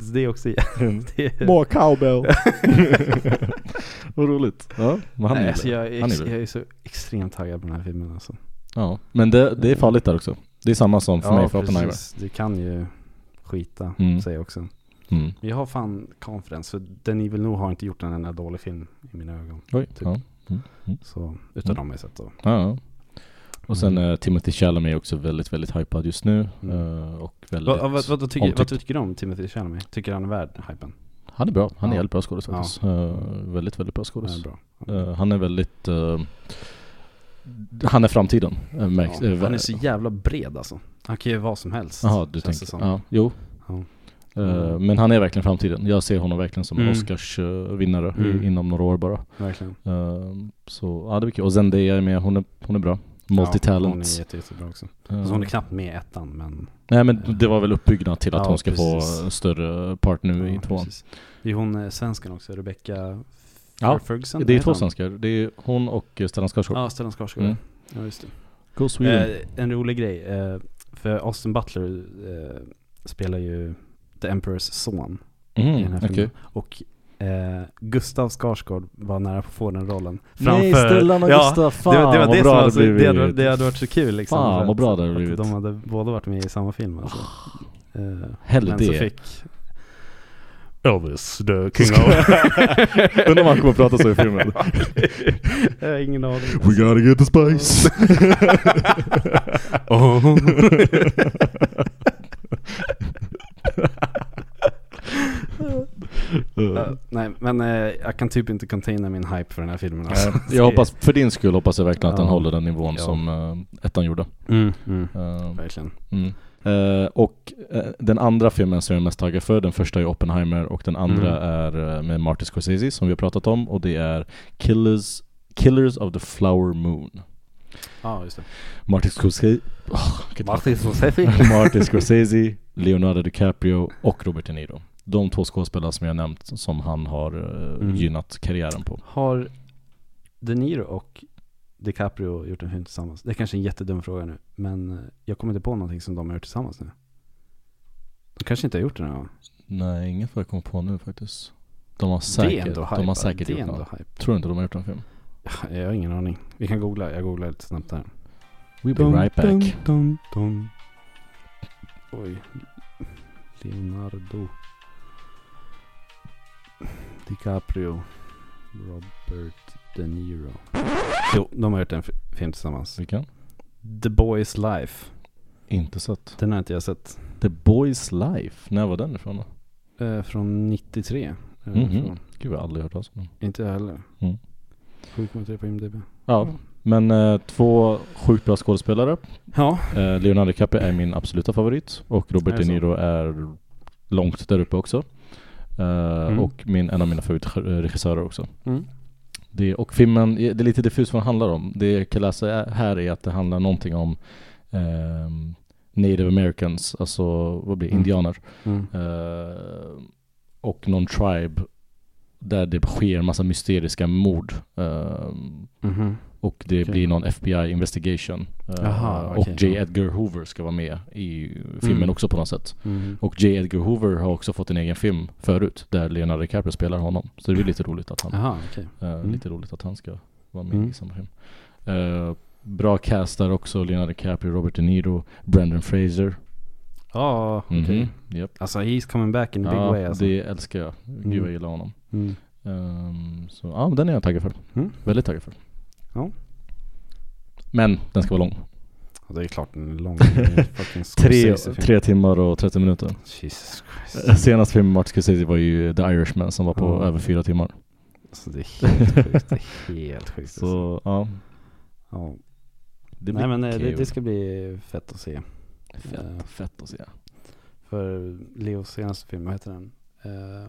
så det är också... det är,
More cowbell. vad roligt. Ja, men han
nej,
är
alltså
väl-
jag, är
han är
ex,
väl-
jag är så extremt taggad på den här filmen alltså.
Ja, men det, det är farligt där också. Det är samma som för mig för Oppenheimer.
Mm. precis. Du kan ju skita
Mm.
säger jag också.
Mm.
Jag har fan confidence, för Denis Villeneuve har inte gjort en enda dålig film i mina ögon.
Oj,
Typ.
ja.
Så, utan
Mm.
dem har jag sett då.
Ja, ja. Och sen eh, Timothy Chalamet är också väldigt, väldigt hypad just nu.
Mm.
eh, och väldigt...
Vad, vad, vad, tycker,
omtyckt.
vad tycker du om Timothy Chalamet? Tycker han är värd hypen?
Han är bra. Han är
Ja.
jävligt bra skådis faktiskt. Eh, väldigt, väldigt bra
Han är
skådis.
bra.
Eh, han är väldigt... eh, han är framtiden. eh, märks,
Ja,
eh,
han är så jävla bred alltså. Han kan ju vara som helst.
Jaha, du
känns det
tänker.
som.
Ja, jo.
Ja.
Eh, men han är verkligen framtiden. Jag ser honom verkligen som
Mm.
Oscarsvinnare
Mm.
i, inom några år bara.
Verkligen.
Eh, så ja, det blir kul. Och Zendaya är med. Hon är, hon är bra.
Ja, hon är
Multitalent.
jätte, jättebra också.
Ja,
Alltså, hon är knappt med i ettan men...
Nej men det var väl uppbyggnad till att
Ja,
hon ska
precis.
få större part nu i
Ja,
tvåan.
precis. Det är hon eh, svensken också, Rebecca
Ja,
Ferguson.
Det är
heter
två
hon?
svenskar. Det är hon och eh, Stellan Skarsgård.
Ja, Stellan Skarsgård.
Mm.
Ja, just det.
Go Sweden.
Eh, en rolig grej, eh, för Austin Butler eh, spelar ju The Emperors son i Eh, den
mm,
här
okej.
filmen. Och eh, Gustav Skarsgård var nära på att få den rollen.
Nej, Stellan och
ja,
Gustav. Fan
det, var- det var
vad
det som
bra
var så,
blivit.
det, hade, det hade varit så kul liksom.
Fan,
för
vad bra det hade
att
blivit. Ah.
De hade båda varit med i samma film alltså. Eh,
Hellre
men så
det.
fick Elvis, the king of...
Undrar om han kommer att prata så i filmen.
Jag har ingen aning.
We gotta get the spice.
Oh.
Eh,
nej, men eh, jag kan typ inte containa min hype för den här filmen alltså.
eh, jag hoppas, för din skull hoppas jag verkligen att den
Ja.
håller den nivån
Ja.
som eh, ettan gjorde.
Mm, mm,
Eh,
verkligen.
Mm. Eh, och eh, den andra filmen som jag är mest taggad för, den första är Oppenheimer och den andra
Mm.
är eh, med Martin Scorsese som vi har pratat om och det är Killers, Killers of the Flower Moon.
Ja, just det.
Martin Scorsese, Åh, jag kan inte
Scorsese.
Martin Scorsese, Leonardo DiCaprio och Robert De Niro. De två skådespelare som jag nämnt som han har eh,
Mm.
gynnat karriären på.
Har De Niro och DiCaprio gjort en film tillsammans? Det är kanske är en jättedum fråga nu, men eh, jag kommer inte på någonting som de har gjort tillsammans nu. De kanske inte har gjort det någon gång.
Nej, inget får jag komma på nu faktiskt. De har
det är
säkert,
ändå hype.
de har
alltså.
säkert
det är
gjort
ändå
något.
hype.
Tror inte de har gjort en film.
Jag har ingen aning. Vi kan googla, jag googlar lite snabbt här.
We'll be right back.
Dum, dum. Oj. Leonardo. DiCaprio. Robert De Niro. Jo, de har gjort en fi- film tillsammans.
Vilken?
The Boys Life.
Inte sett.
Den har inte jag sett.
The Boys Life, när var den ifrån då?
Eh, från 93. Eh,
Mhm.
från.
Gud, jag har aldrig hört talas om den.
Inte jag heller.
Mm.
7,3 på IMDB.
Ja, men eh, två sjukt bra skådespelare.
Ja.
Eh, Leonardo DiCaprio är min absoluta favorit och Robert
Är det
De
så?
Niro är långt där uppe också. Eh, Och min, en av mina favoritregissörer också.
Mm.
Det, och filmen, det är lite diffus vad den handlar om. Det jag kan läsa här är att det handlar någonting om ehm, Native Americans, alltså vad blir det?
Mm.
indianer.
Mm.
Eh, och någon tribe där det sker en massa mysteriska mord. Ehm,
Mhm.
och det
Okej.
blir någon FBI investigation. Eh,
Jaha, okej.
och J. Edgar Hoover ska vara med i filmen
Mm.
också på något sätt.
Mhm.
Och J. Edgar Hoover har också fått en egen film förut där Leonardo DiCaprio spelar honom. Så det blir lite roligt att han,
Jaha, okej.
eh,
Mm.
lite roligt att han ska vara med i
Mm.
samma film. Eh, bra cast där också. Leonardo DiCaprio, Robert De Niro, Brendan Fraser.
Ja, okej.
Mhm, japp.
Alltså he's coming back in a big
Ja,
way alltså.
det älskar jag. Gud vad jag
Mm.
gillar honom.
Mm.
Ehm, så ja, men den är jag taggad för.
Mm.
Väldigt taggad för.
Ja.
Men den ska vara lång.
Ja, det är klart den är lång. Det är en fucking
Tre,
Scorsese-film.
tre timmar och 30 minuter.
Jesus
Eh,
Christ.
Senaste filmen Martin Scorsese var ju The Irishman som var på
Ja.
över fyra timmar.
Alltså, det är helt sjukt. Det är helt sjukt. alltså.
Så ja.
Ja.
Det
Nej
blir
men eh, det,
kul.
det ska bli fett att se. Eh,
fett, fett att se.
För Leos senaste film, vad heter den? Eh,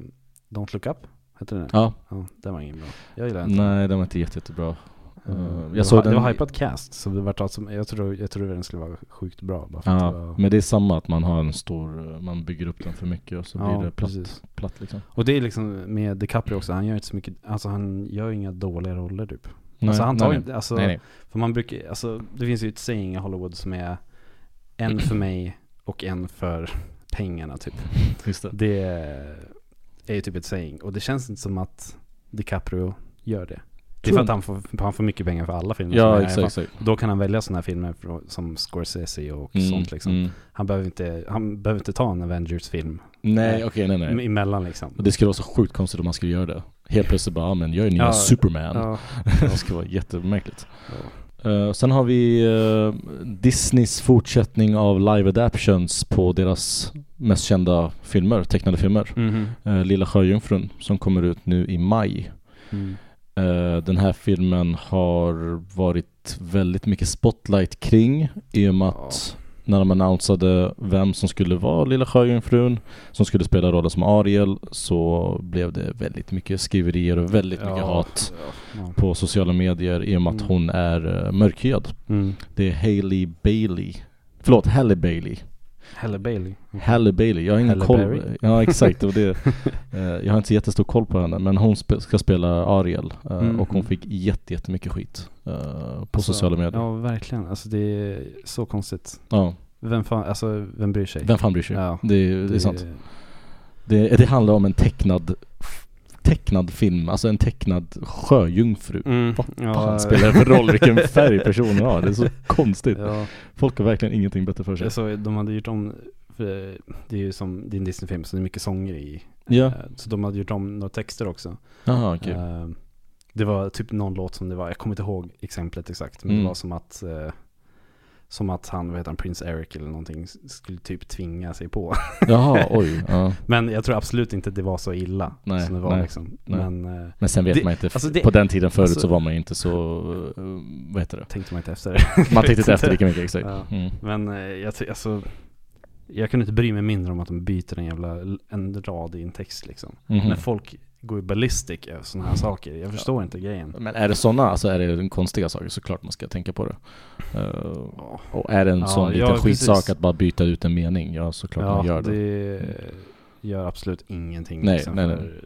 Don't Look Up? Heter den det?
Ja,
ja. Den var ingen bra. Jag gillar den. inte.
nej den var inte jätte, jättebra.
Eh,
jag
det,
såg
var, det
den-
var hypad cast, så det vart alltså, jag trodde, jag trodde den skulle vara sjukt bra. Bara för att det
Ja,
var,
men det är samma att man har en stor, eh, man bygger upp den för mycket och så
Ja,
blir det platt,
precis.
platt liksom.
och det är liksom med DiCaprio också, han gör inte så mycket, alltså han gör ju inga dåliga roller typ.
Nej,
alltså han tar
nej,
ju inte, alltså,
nej, nej.
För man brukar, alltså det finns ju ett saying i Hollywood som är en för mig och en för pengarna typ.
Just det.
Det är ju typ ett saying och det känns inte som att DiCaprio gör det. Det är
Tror
för att han får, han får mycket pengar för alla filmer. som är
Ja,
i
exakt,
alla
exakt.
fall. Då kan han välja sådana här filmer från- som Scorsese och
Mm,
sånt liksom.
mm.
Han, behöver inte, han behöver inte ta en Avengers-film
Nej,
Nej.
okej, nej, nej.
emellan liksom.
Och Det skulle vara så sjukt konstigt om man skulle göra det. Helt plötsligt bara, "Ja, men jag är nya
Ja,
Superman.
ja,
Det skulle vara jättemärkligt. Eh, sen har vi eh, Disneys fortsättning av live adaptions på deras mest kända filmer, tecknade filmer.
Mhm.
Eh, Lilla Sjöjungfrun som kommer ut nu i maj.
Mm.
Eh, den här filmen har varit väldigt mycket spotlight kring i och med att när de annonsade vem som skulle vara Lilla Sjöjungfrun som skulle spela rollen som Ariel så blev det väldigt mycket skriverier och väldigt mycket
Ja.
hat
Ja.
på sociala medier i och med att
Mm.
hon är eh, mörkhyad.
Mm.
Det är Hailey Bailey. Förlåt, Halle Bailey.
Halle Bailey.
Halle Bailey, jag har ingen
Mhm. Halle
koll.
Berry.
Ja exakt, det var det. Eh, jag har inte jättestor koll på henne men hon spe- ska spela Ariel eh,
Mhm.
och hon fick jätte, jättemycket skit eh, på
Alltså,
sociala medier. Ja.
Ja, verkligen. Alltså det är så konstigt. Vem fan, alltså vem bryr sig?
Vem fan bryr sig?
Ja.
Det, är- det är sant. Det, det handlar om en tecknad, tecknad film, alltså en tecknad sjöjungfru.
Mm,
Vad
ja,
Fan, spelar det för roll vilken färg personen har? Det är så konstigt.
Ja,
Folk har verkligen ingenting bättre för sig.
jag såg, de hade gjort om För det- det är ju som din Disney-film så det är mycket sånger i.
Ja.
Eh, Så de hade gjort om några texter också.
Jaha, okej.
Eh, Det var typ någon låt som det var, jag kommer inte ihåg exemplet exakt, men
Mm.
det var som att eh, som att han, vad heter han, Prince Eric eller någonting s- skulle typ tvinga sig på.
Jaha, oj. Ja.
Men jag tror absolut inte det var så illa
Nej,
som det var
nej,
liksom.
nej.
Men eh,
Men sen vet
Det-
man inte.
alltså det-
på den tiden förut
alltså-
så var man ju inte så, eh, vad heter det?
tänkte man inte efter det.
Man tänkte inte efter lika mycket exakt.
Ja.
Mm.
Men eh, jag, ty- alltså, jag kunde inte bry mig mindre om att de byter en jävla en rad i en text liksom.
Mhm.
När folk går ballistic över sådana här saker. Jag förstår inte grejen.
Men är det sådana, alltså är det konstiga saker så klart man ska tänka på det. Eh,
Ja.
och är det en
Ja,
sån
ja,
liten skitsak
precis.
att bara byta ut en mening, ja såklart man gör det.
gör absolut ingenting
Nej,
liksom,
nej,
för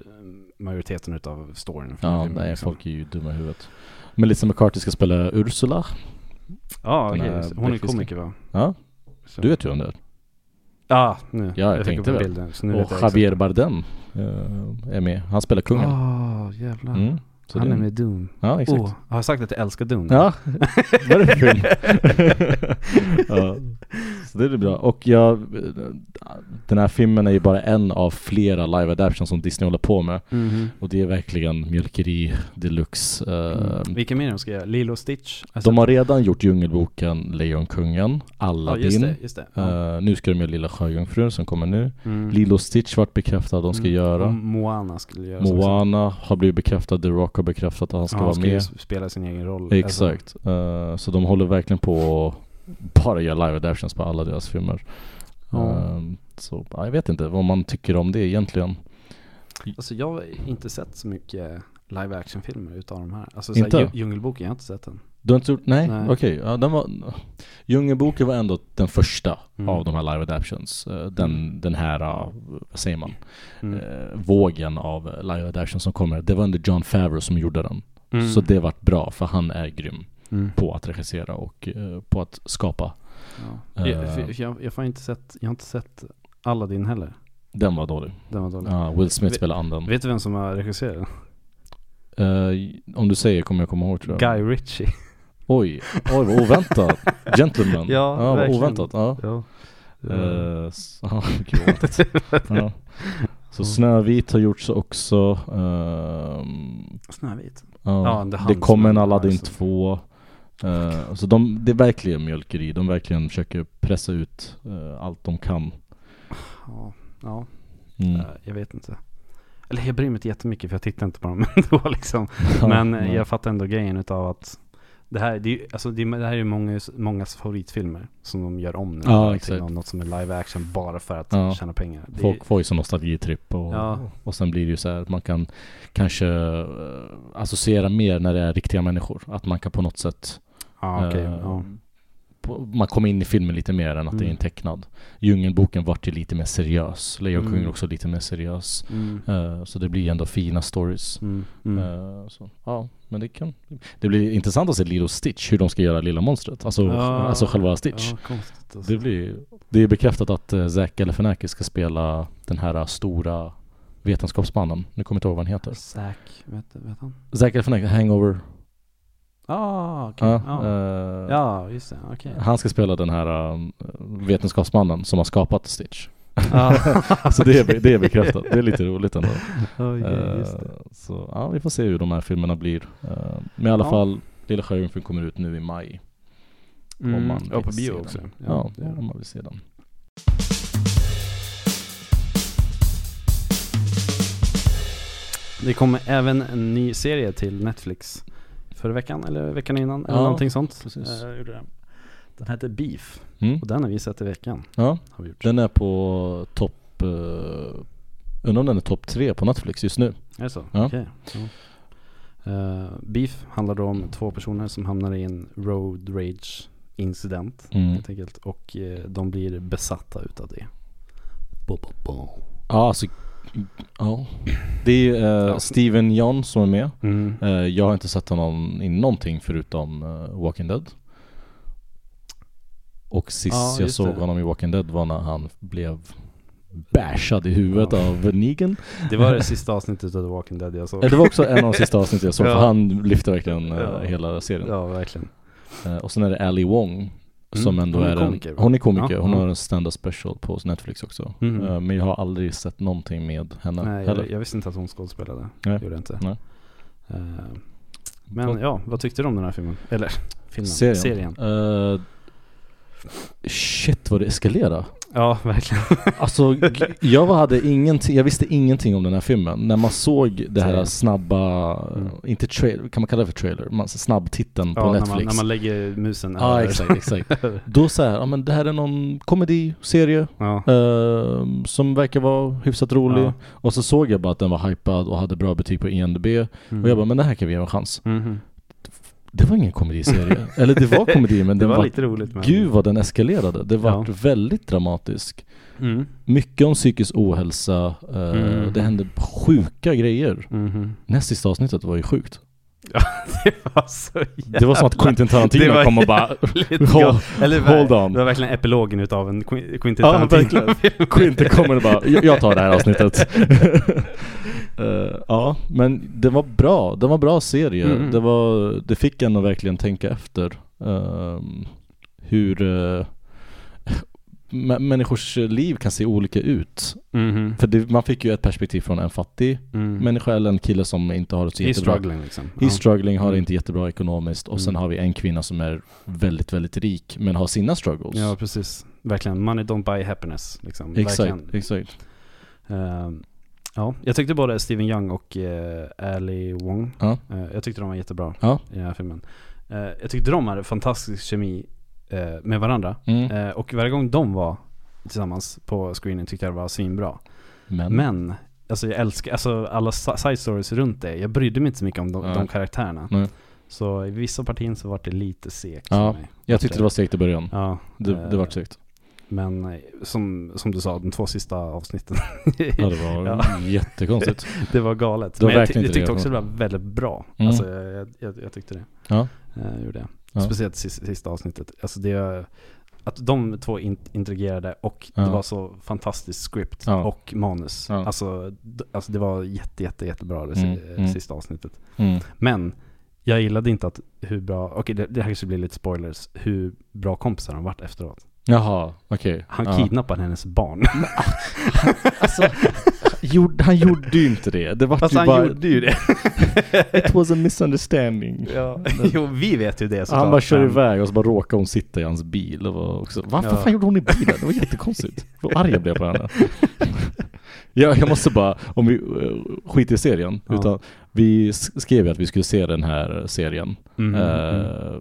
majoriteten utav storyn. för
Ja,
filmen,
nej
liksom.
folk är ju dumma i huvudet. Melissa McCarthy ska spela Ursula.
liksom. Ja,
den
okej,
här
just det. hon är
bläckfisken.
komiker va?
Ja,
Så.
du vet ju om det är.
Ja, nu.
Ja, jag
fick
tänkte
upp
väl.
bilden. Så nu vet
Och
jag
Javier Bardem eh, är med. Han spelar
kungen.
kungen.
Ah, jävlar.
Mm, så
Han
det-
är med i Doom.
Ja, exakt.
Åh, har jag sagt att jag älskar Doom?
Ja, vad är det för film? ja. Så det är bra. Och jag, den här filmen är ju bara en av flera live adaptions som Disney håller på med.
Mhm.
Och det är verkligen mjölkeri deluxe. Eh,
Mm. Vilka mer de ska göra? Lilo och Stitch? Har jag
De
sett.
har redan gjort Djungelboken, Lejonkungen,
Ja, just
Aladdin.
det. Just det. Ja.
Eh, nu ska de göra Lilla Sjöjungfrun som kommer nu.
Mm.
Lilo och Stitch vart bekräftad att de ska
Mm. Och
göra.
Moana skulle göra
Moana har blivit bekräftad, The Rock har bekräftat att han ska
ska ja,
vara
ska ju
med.
spela sin egen roll. Alltså,
Exakt. Eh, så de håller verkligen på att bara göra live adaptions på alla deras filmer.
Ja.
Eh, så ja, jag vet inte vad man tycker om det egentligen.
alltså jag har inte sett så mycket live action filmer utav de här. Alltså
Inte?
såhär, Dju- Djungelboken, jag har inte sett den.
Du har inte gjort, nej,
Nej.
okej. Ja, den var, Djungelboken var ändå den första
Mm.
av de här live adaptions. Eh, Den, den här, eh, vad säger man,
Mm.
Eh, vågen av live adaptions som kommer. Det var under John Favreau som gjorde den.
Mm.
Så det vart bra för han är grym
Mm.
på att regissera och eh, på att skapa.
Ja.
Eh.
Jag, för- jag, jag, har inte sett, jag har inte sett Aladdin heller.
Den var dålig.
Den var dålig.
Ja, Will Smith
Mm. Vi-
spelar anden.
Vet du vem som har regisserat den?
Eh, om du säger kommer jag komma ihåg tror jag.
Guy Ritchie.
Oj, oj vad oväntat. Gentleman.
Ja,
vad
verkligen.
oväntat. Ja.
Ja. Ja.
Eh, s- ja, gud, vad oväntat. ja. Så Snövit har gjorts också. ehm,
Snövit. Ja,
ja.
det är han
det kommer en
som är-
Aladdin
alltså.
2. Eh, så de, det är verkligen mjölkeri. De verkligen försöker pressa ut eh, allt de kan.
Ja. ja.
Mm.
Eh, Jag vet inte. Eller jag bryr mig inte jättemycket för jag tittar inte på dem ändå liksom. Men eh,
nej.
jag fattar ändå grejen utav att det här, det är, ju- alltså det, är- det här är ju många, mångas favoritfilmer som de gör om nu.
Ja,
till
exakt.
Något, något som är live action bara för att
Ja.
tjäna pengar. Det,
Folk får ju sån nostalgitripp och,
Ja.
och sen blir det ju så här att man kan kanske eh, associera mer när det är riktiga människor. Att man kan på något sätt,
ja, okej,
eh,
ja.
på, man kommer in i filmen lite mer än att det är
Mm.
en tecknad. Djungelboken vart ju lite mer seriös. Lejonkungen
Mm.
också lite mer seriös.
Mm,
Eh, så det blir ändå fina stories.
mm, mm.
Eh, så, ja, men det kan... Det blir intressant att se Lilo Stitch, hur de ska göra lilla monstret. Alltså,
Ja,
alltså själva Stitch.
Ja, konstigt alltså.
Det blir Det är bekräftat att eh, Zach Galifianakis ska spela den här eh, stora vetenskapsmannen. Nu kommer jag inte ihåg vad han heter.
Zack, vet, vet han?
Zach Galifianakis, Hangover.
Ah, okej.
Ja,
ja.
eh,
ja, just det. Okej.
Han ska spela den här eh, vetenskapsmannen som har skapat Stitch.
Ah,
Så det är,
okej.
det är bekräftat. Det är lite roligt ändå.
Oj,
Eh,
just det.
Så ja, vi får se hur de här filmerna blir. Eh, Men i alla
Ja.
fall, Lilla Sjöjungfrun kommer ut nu i maj. om man
Mm. ja,
vill
på
se
bio
den.
också.
Ja,
det gör de.
om man vill se den.
Det kommer även en ny serie till Netflix förra veckan eller veckan innan eller
Ja,
någonting sånt.
precis.
Eh, jag gjorde det. Den heter Beef
Mm.
och den har vi sett i veckan.
Ja,
Har vi gjort.
den är på topp... eh, Undrar om den är topp tre på Netflix just nu.
Är det så?
Ja.
Okej. Ja. Eh, Beef handlar då om två personer som hamnar i en road rage incident
Mm.
helt enkelt och eh, de blir besatta utav det. Bo, bo, bo.
Ja, alltså... Ja. Det är eh, Steven John som är med.
Mm.
Eh, jag har inte sett honom i någonting förutom eh, Walking Dead. Och sist
Ja,
jag
just
såg
det.
honom i Walking Dead var när han blev bashad i huvudet
Ja.
av Negan.
Det var det sista avsnittet av The Walking Dead jag såg.
Eh, Det var också en av de sista avsnitten jag såg,
Ja.
för han lyfte verkligen eh,
Ja.
hela serien.
Ja, verkligen.
Eh, och sen är det Ali Wong
Mm,
Som ändå
hon är
är, en,
komiker, va?
hon är komiker,
Ja, Mm.
hon
ja.
har en stand-up special på Netflix också.
Mhm.
Eh, Men jag har aldrig sett någonting med henne
Nej,
heller.
jag, jag visste inte att hon skådespelade.
Nej.
Gjorde jag inte.
Nej.
Eh, men ja, vad tyckte du om den här filmen? Eller filmen?
Serien.
Serien.
Eh, shit vad det eskalerade.
Ja, verkligen.
Alltså g- jag var- hade ingenting, jag visste ingenting om den här filmen. När man såg det här
Serien.
snabba,
Mm.
inte trailer, kan man kalla det för trailer? Man, snabbtitten på
Ja, när,
Netflix.
man, när man lägger musen
Ja ah,
över.
exakt, exakt. Då så här, ja men det här är någon komediserie
Ja.
eh, som verkar vara hyfsat rolig.
Ja.
Och så såg jag bara att den var hypad och hade bra betyg på E IMDB.
Mm.
Och jag bara, men det här kan vi ge en chans.
Mhm.
Det var ingen komediserie. Eller det var komedi men
Det
den
var
var,
lite roligt men...
gud vad den eskalerade. Det var
Ja.
väldigt dramatisk.
Mm.
Mycket om psykisk ohälsa. eh,
Mm.
Det hände sjuka grejer.
Mhm.
Näst sista avsnittet var ju sjukt.
Det var så jävla...
Det var som att Quentin
Det
Tarantino
var
kom och bara
Lite
Hold-
gott. Eller,
hold on.
Det var verkligen epilogen utav en Qu- Quentin Mm-hmm.
Ja,
Tarantino-film.
Quentin kommer och bara "Jag- Jag tar det här avsnittet Eh, Ja, men det var bra Det var bra serie
Mm.
det, var, det fick en att verkligen tänka efter ehm, Hur eh, mä- människors liv kan se olika ut
Mhm.
För det, man fick ju ett perspektiv från en fattig
Mm.
människa eller en kille som inte har det så
I
jättebra
struggling liksom.
He's struggling, har det
Mm.
inte jättebra ekonomiskt och sen
Mm.
har vi en kvinna som är väldigt, väldigt rik men har sina struggles
Ja, precis. Verkligen. Money don't buy happiness. Liksom.
Exakt,
Verkligen.
exakt
Ehm, ja, jag tyckte både Steven Young och eh, Ali Wong,
Ja.
eh, jag tyckte de var jättebra
Ja.
i den här filmen. Eh, jag tyckte de hade fantastisk kemi eh, med varandra.
mm.
Eh, och varje gång de var tillsammans på screenen tyckte jag det var svinbra.
Men,
Men, alltså jag älskar, alltså alla si- side stories runt det. Jag brydde mig inte så mycket om de,
Nej.
de karaktärerna.
Nej.
Så i vissa partier så var det lite segt
Ja.
för mig.
Jag tyckte det var segt i början.
Ja,
Det, det
eh,
var segt.
Men eh, som, som du sa, de två sista avsnitten,
Ja, det var
Ja.
jättekonstigt.
det var galet.
Det var
men jag, ty-
verkligen inte
jag
det
tyckte
jag
också det var väldigt bra.
Mm.
Alltså, jag, jag- jag, jag tyckte det.
Ja.
Eh, gjorde jag.
Ja.
Speciellt sista, sista avsnittet. Alltså det, att de två in, interagerade och
Ja.
det var så fantastiskt script
Ja.
och manus.
Ja.
Alltså, d- alltså det var jätte, jätte, jättebra det si-
Mm,
eh,
mm.
sista avsnittet.
Mm.
Men jag gillade inte att hur bra, okej det, det här kanske blir lite spoilers, hur bra kompisar de vart efteråt.
Jaha, okej.
Han
Ja.
kidnappade hennes barn.
Alltså, gjorde, han gjorde ju inte det. Det var
Alltså
ju
han
bara...
gjorde ju det.
It was a misunderstanding.
Ja. Jo, vi vet ju det såklart.
Han bara kör
men-
iväg och så bara råkade hon sitta i hans bil. Det var också, varför
Ja.
fan gjorde hon i bilen? Det var jättekonstigt. Vad arg jag blev på henne. ja, jag måste bara, om vi eh, skiter i serien.
Ja.
Utan, vi s- skrev ju att vi skulle se den här serien.
Mhm, mhm,
Eh,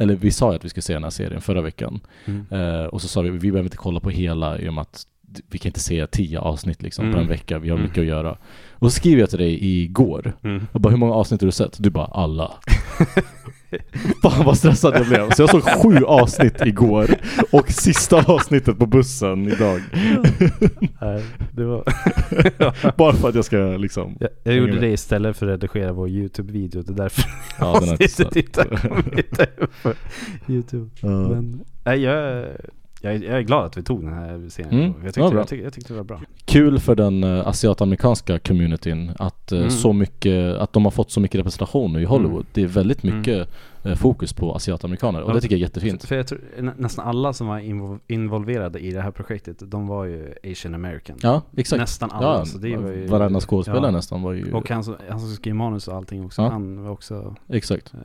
Eller vi sa ju att vi skulle se den här serien förra veckan.
mhm.
Eh, och så sa vi, vi behöver inte kolla på hela i och med att d- vi kan inte se tio avsnitt liksom på
Mm.
en vecka, vi har
Mm.
mycket att göra. Och så skrev jag till dig igår,
Mm.
jag bara hur många avsnitt har du sett? Du bara alla. Fan vad stressad jag blev. Så jag såg sju avsnitt igår och sista avsnittet på bussen idag.
Nej, det var...
Bara för att jag ska liksom...
Jag, jag
Hänger
gjorde
med.
det istället för att redigera vår YouTube-video. Det är därför
Ja, den har jag inte
avsnittet
sett.
inte har kommit upp på YouTube.
Eh,
Men, nej, jag, jag, är- jag är glad att vi tog den här serien.
Mm,
Jag,
det var
tyckte,
bra.
jag, tyckte, jag tyckte det var bra.
Kul för den eh, asiatamerikanska communityn att, eh,
Mm.
så mycket, att de har fått så mycket representation nu i Hollywood.
Mm.
Det är väldigt mycket eh, fokus på asiatamerikaner och
Ja.
det tycker jag är
För,
jättefint.
för jag tror, nä- nästan alla som var invol- involverade i det här projektet, de var ju asian american.
Ja, exakt.
Nästan alla.
Ja,
så det var ju,
varenda skådespelare
ja.
nästan var ju...
Och han som, han som skrev manus och allting också,
Ja.
han var också...
Exakt.
eh,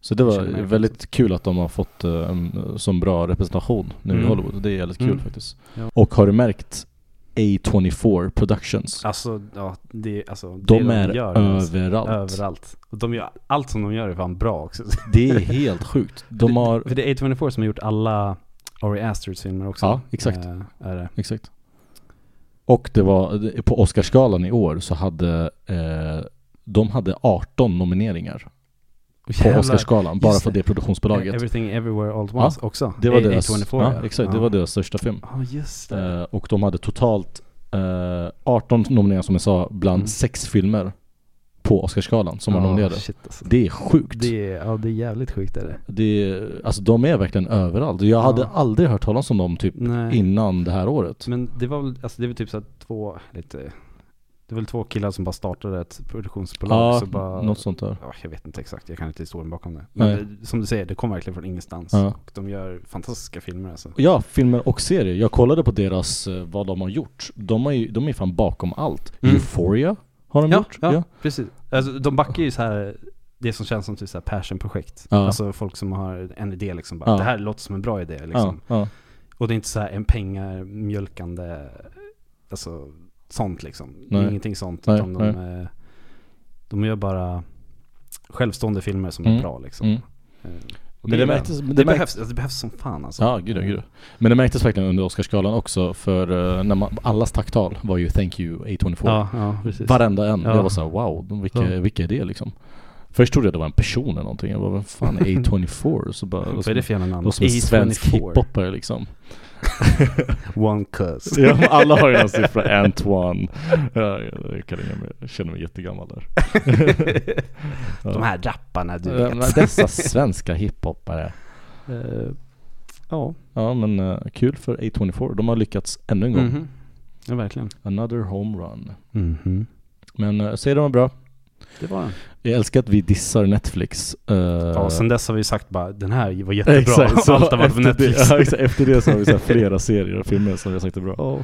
Så det var
Känner mig
väldigt kul att de har fått eh, en sån bra representation nu i
Mm.
Hollywood. Det är väldigt kul
Mm.
faktiskt.
Ja.
Och har du märkt A24 Productions?
Alltså, ja, det, alltså, det
de är
alltså.
överallt.
Överallt. Och de gör, allt som de gör är fan bra också.
Det är helt sjukt. De har...
För det är A24 som har gjort alla Ari Asters filmer också.
Ja, exakt.
Eh, är det.
Exakt. Och det var, eh, på Oscarsgalan i år så hade eh, de hade 18 nomineringar på Oscarsgalan bara
Just
för
det.
det produktionsbolaget.
Everything Everywhere All At Once också.
Det var
A-
deras,
A24,
ja, exakt, det var deras största film.
Ja, just det.
Eh, och de hade totalt eh, 18 nomineringar som jag sa bland
Mm.
sex filmer på Oscarsgalan som var
Ja,
nominerade.
Shit, alltså.
Det är sjukt. Det...
det, är, ja, det är jävligt sjukt är det.
är, alltså de är verkligen överallt. Jag hade
Ja.
aldrig hört talas om dem typ
Nej.
innan det här året.
Men det var väl, alltså det var typ såhär två, lite Det är väl två killar som bara startade ett produktionsbolag
Ja,
så bara,
något sånt där.
Ja, jag vet inte exakt, jag kan inte historien bakom det.
Nej.
Men det, som du säger, det kom verkligen från ingenstans.
Ja.
Och de gör fantastiska filmer alltså.
Ja, filmer och serier. Jag kollade på deras, eh, vad de har gjort. De, har ju, de är fan bakom allt.
Mm.
Euphoria har de gjort.
precis. Alltså, de backar ju så här det som känns som typ så här passionprojekt.
Ja.
Alltså folk som har en idé liksom bara,
Ja.
det här låter som en bra idé liksom.
Ja, ja.
Och det är inte så här en pengamjölkande, alltså sånt liksom. Det är
Nej.
ingenting sånt.
Nej,
utan de, eh, de gör bara självstående filmer som är
Mm.
bra liksom.
Mm.
Eh, och
Men det
gillar jag.
märktes, men
det,
det märktes,
behövs, alltså, det behövs som fan alltså.
ja, gud, ja, gud. Men det märktes verkligen under Oscarsgalan också för eh, när man, allas tacktal var ju 'Thank you A24'
Ja, ja, precis.
Varenda en.
Ja.
Jag var såhär wow, de- vilka,
Ja.
vilka är det liksom? Först trodde jag det var en person eller någonting. Jag bara vad fan är A24? Så bara,
Vad är det för jävla namn?
någon som är svensk
A24.
hiphopare liksom.
One cuz.
Ja, men alla har ju någon siffra, Antoine. Ja, jag, kan ringa mig. jag känner mig jättegammal där.
De här rapparna du
Ja,
vet.
men Dessa svenska hiphoppare.
Eh, ja.
Ja men eh, kul för A24. De har lyckats ännu en gång.
Mhm. Ja, verkligen.
Another homerun. Mhm. Men uh, säger de är bra.
Det var den.
Jag älskar att vi dissar Netflix. eh,
Ja, och sen dess har vi sagt bara den här var jättebra.
Exakt, så
Allt har varit
efter
på Netflix.
Det, ja, exakt, efter det så har vi så här flera serier och filmer som vi har sagt är bra.
Ja,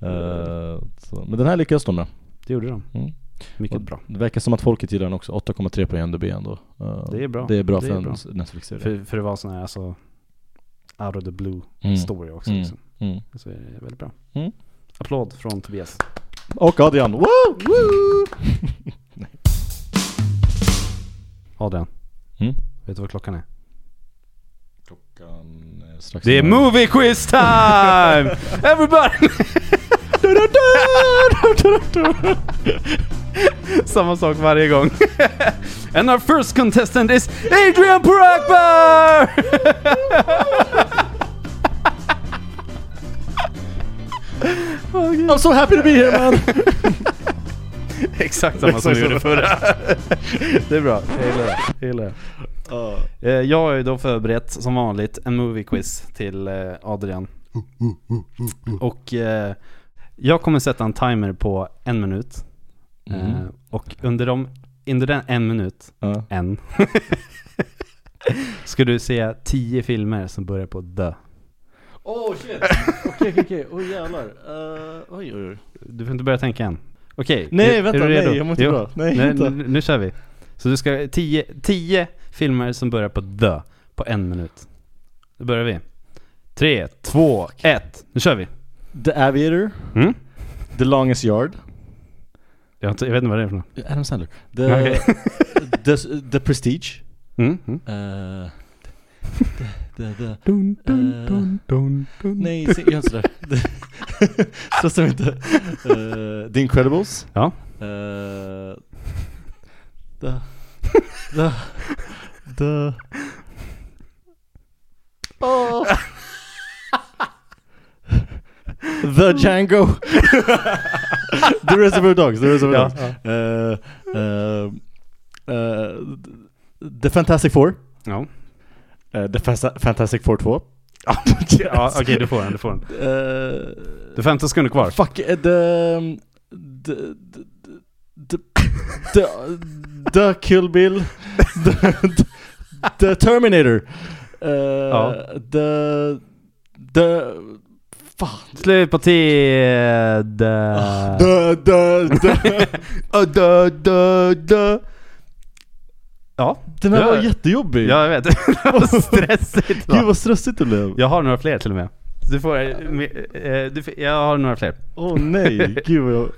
Eh, så, men den här lyckades de med.
det gjorde de.
Mm.
Mycket
Och
bra.
Det verkar som att folket gillar den också. 8,3 på IMDB ändå. Eh,
Det är bra.
Det är bra
Det
för
är
en
bra.
s- Netflix-serie.
För, för det var sån här alltså out of the blue
Mm.
story också.
Mm.
Liksom.
Mm.
Så är det väldigt bra.
Mm.
Applåd från Tobias.
Och Adrian! Woo! Woo!
Adrian.
Mm.
Vet du vad klockan är?
Klockan är strax
Det är
innan-
movie quiz time! Everybody! Samma sak varje gång. And our first contestant is Adrian Purakbar!
I'm so happy to be here man!
Exakt samma som vi gjorde förra. Det är bra. Jag gillar det. Jag gillar det. Eh, Jag har ju då förberett, som vanligt, en movie quiz till eh, Adrian. Och eh, jag kommer sätta en timer på en minut. Eh,
Mm.
Och under, de, under den en minut,
Ja.
en, ska du se tio filmer som börjar på the.
Oh shit! Okej, okej, okej. Oj jävlar. Uh, oj, oj, oj.
Du får inte börja tänka än. Okej,
Nej,
är-
vänta,
är du redo?
nej, jag mår inte
Jo.
bra. Nej,
Nej,
vänta.
nu, nu kör vi. Så du ska, tio, tio filmer som börjar på the på en minut. Då börjar vi. Tre, två, ett. Nu kör vi.
The Aviator,
Mm?
The Longest Yard,
Jag, har inte- jag vet inte vad det är för något.
Adam Sandler, The,
Okej.
the, the Prestige,
Mm? Mm?
eh, the, the, the,
Dun,
dun, dun, nej, se- gör inte sådär. Så som inte. Eh, the Incredibles,
Ja.
eh, the, the, the, oh. The Django! the Reservoir Dogs, The Reservoir
Ja,
Dogs. Uh, eh, the Fantastic Four.
Ja, Eh,
Uh, the Fasa- Fantastic Four 2.
ja okej du får den, du får den.
Uh,
Eh, Du har 15 sekunder kvar.
fuck, eh, the, the, the, the, the, the Kill Bill. The, the Terminator. Uh,
Ja.
The, the,
Slut på tid! The...
the, the, the. ah,
the, the, the. Ja,
Den här var
Ja.
jättejobbig.
jag vet. Det var stressigt
Gud
va?
vad stressigt det blev.
Jag har några fler till och med. Du får, eh, du, får- jag har några fler.
Åh nej, gud vad jag...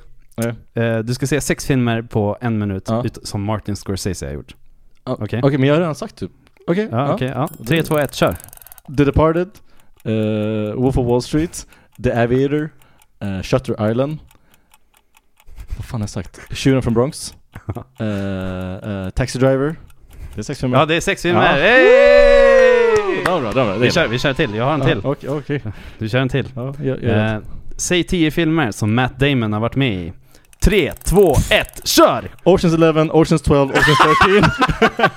Nej.
Eh, Du ska se sex filmer på en minut
Ja.
ut- som Martin Scorsese har gjort.
Ja,
Okej.
Okej men jag har redan sagt typ. Okej.
Ja, okej. ja. Tre, två, ett, kör.
The Departed, eh, Wolf of Wall Street, The Aviator, eh, Shutter Island. Vad fan har jag sagt? Tjuren från Bronx. eh, eh, Taxi Driver. Det är sex filmer.
Ja, det är sex filmer.
Ja.
Hey!
det var bra, det var bra. Det
Ah, Vi
är
kör, vi kör till. Jag har en
bra.
till.
Ja, Okej, okej.
Du kör en till.
Ja, jag- jag-
Eh, Säg tio filmer som Matt Damon har varit med i. Tre, två, ett, kör!
Oceans 11, Oceans 12, Oceans 13.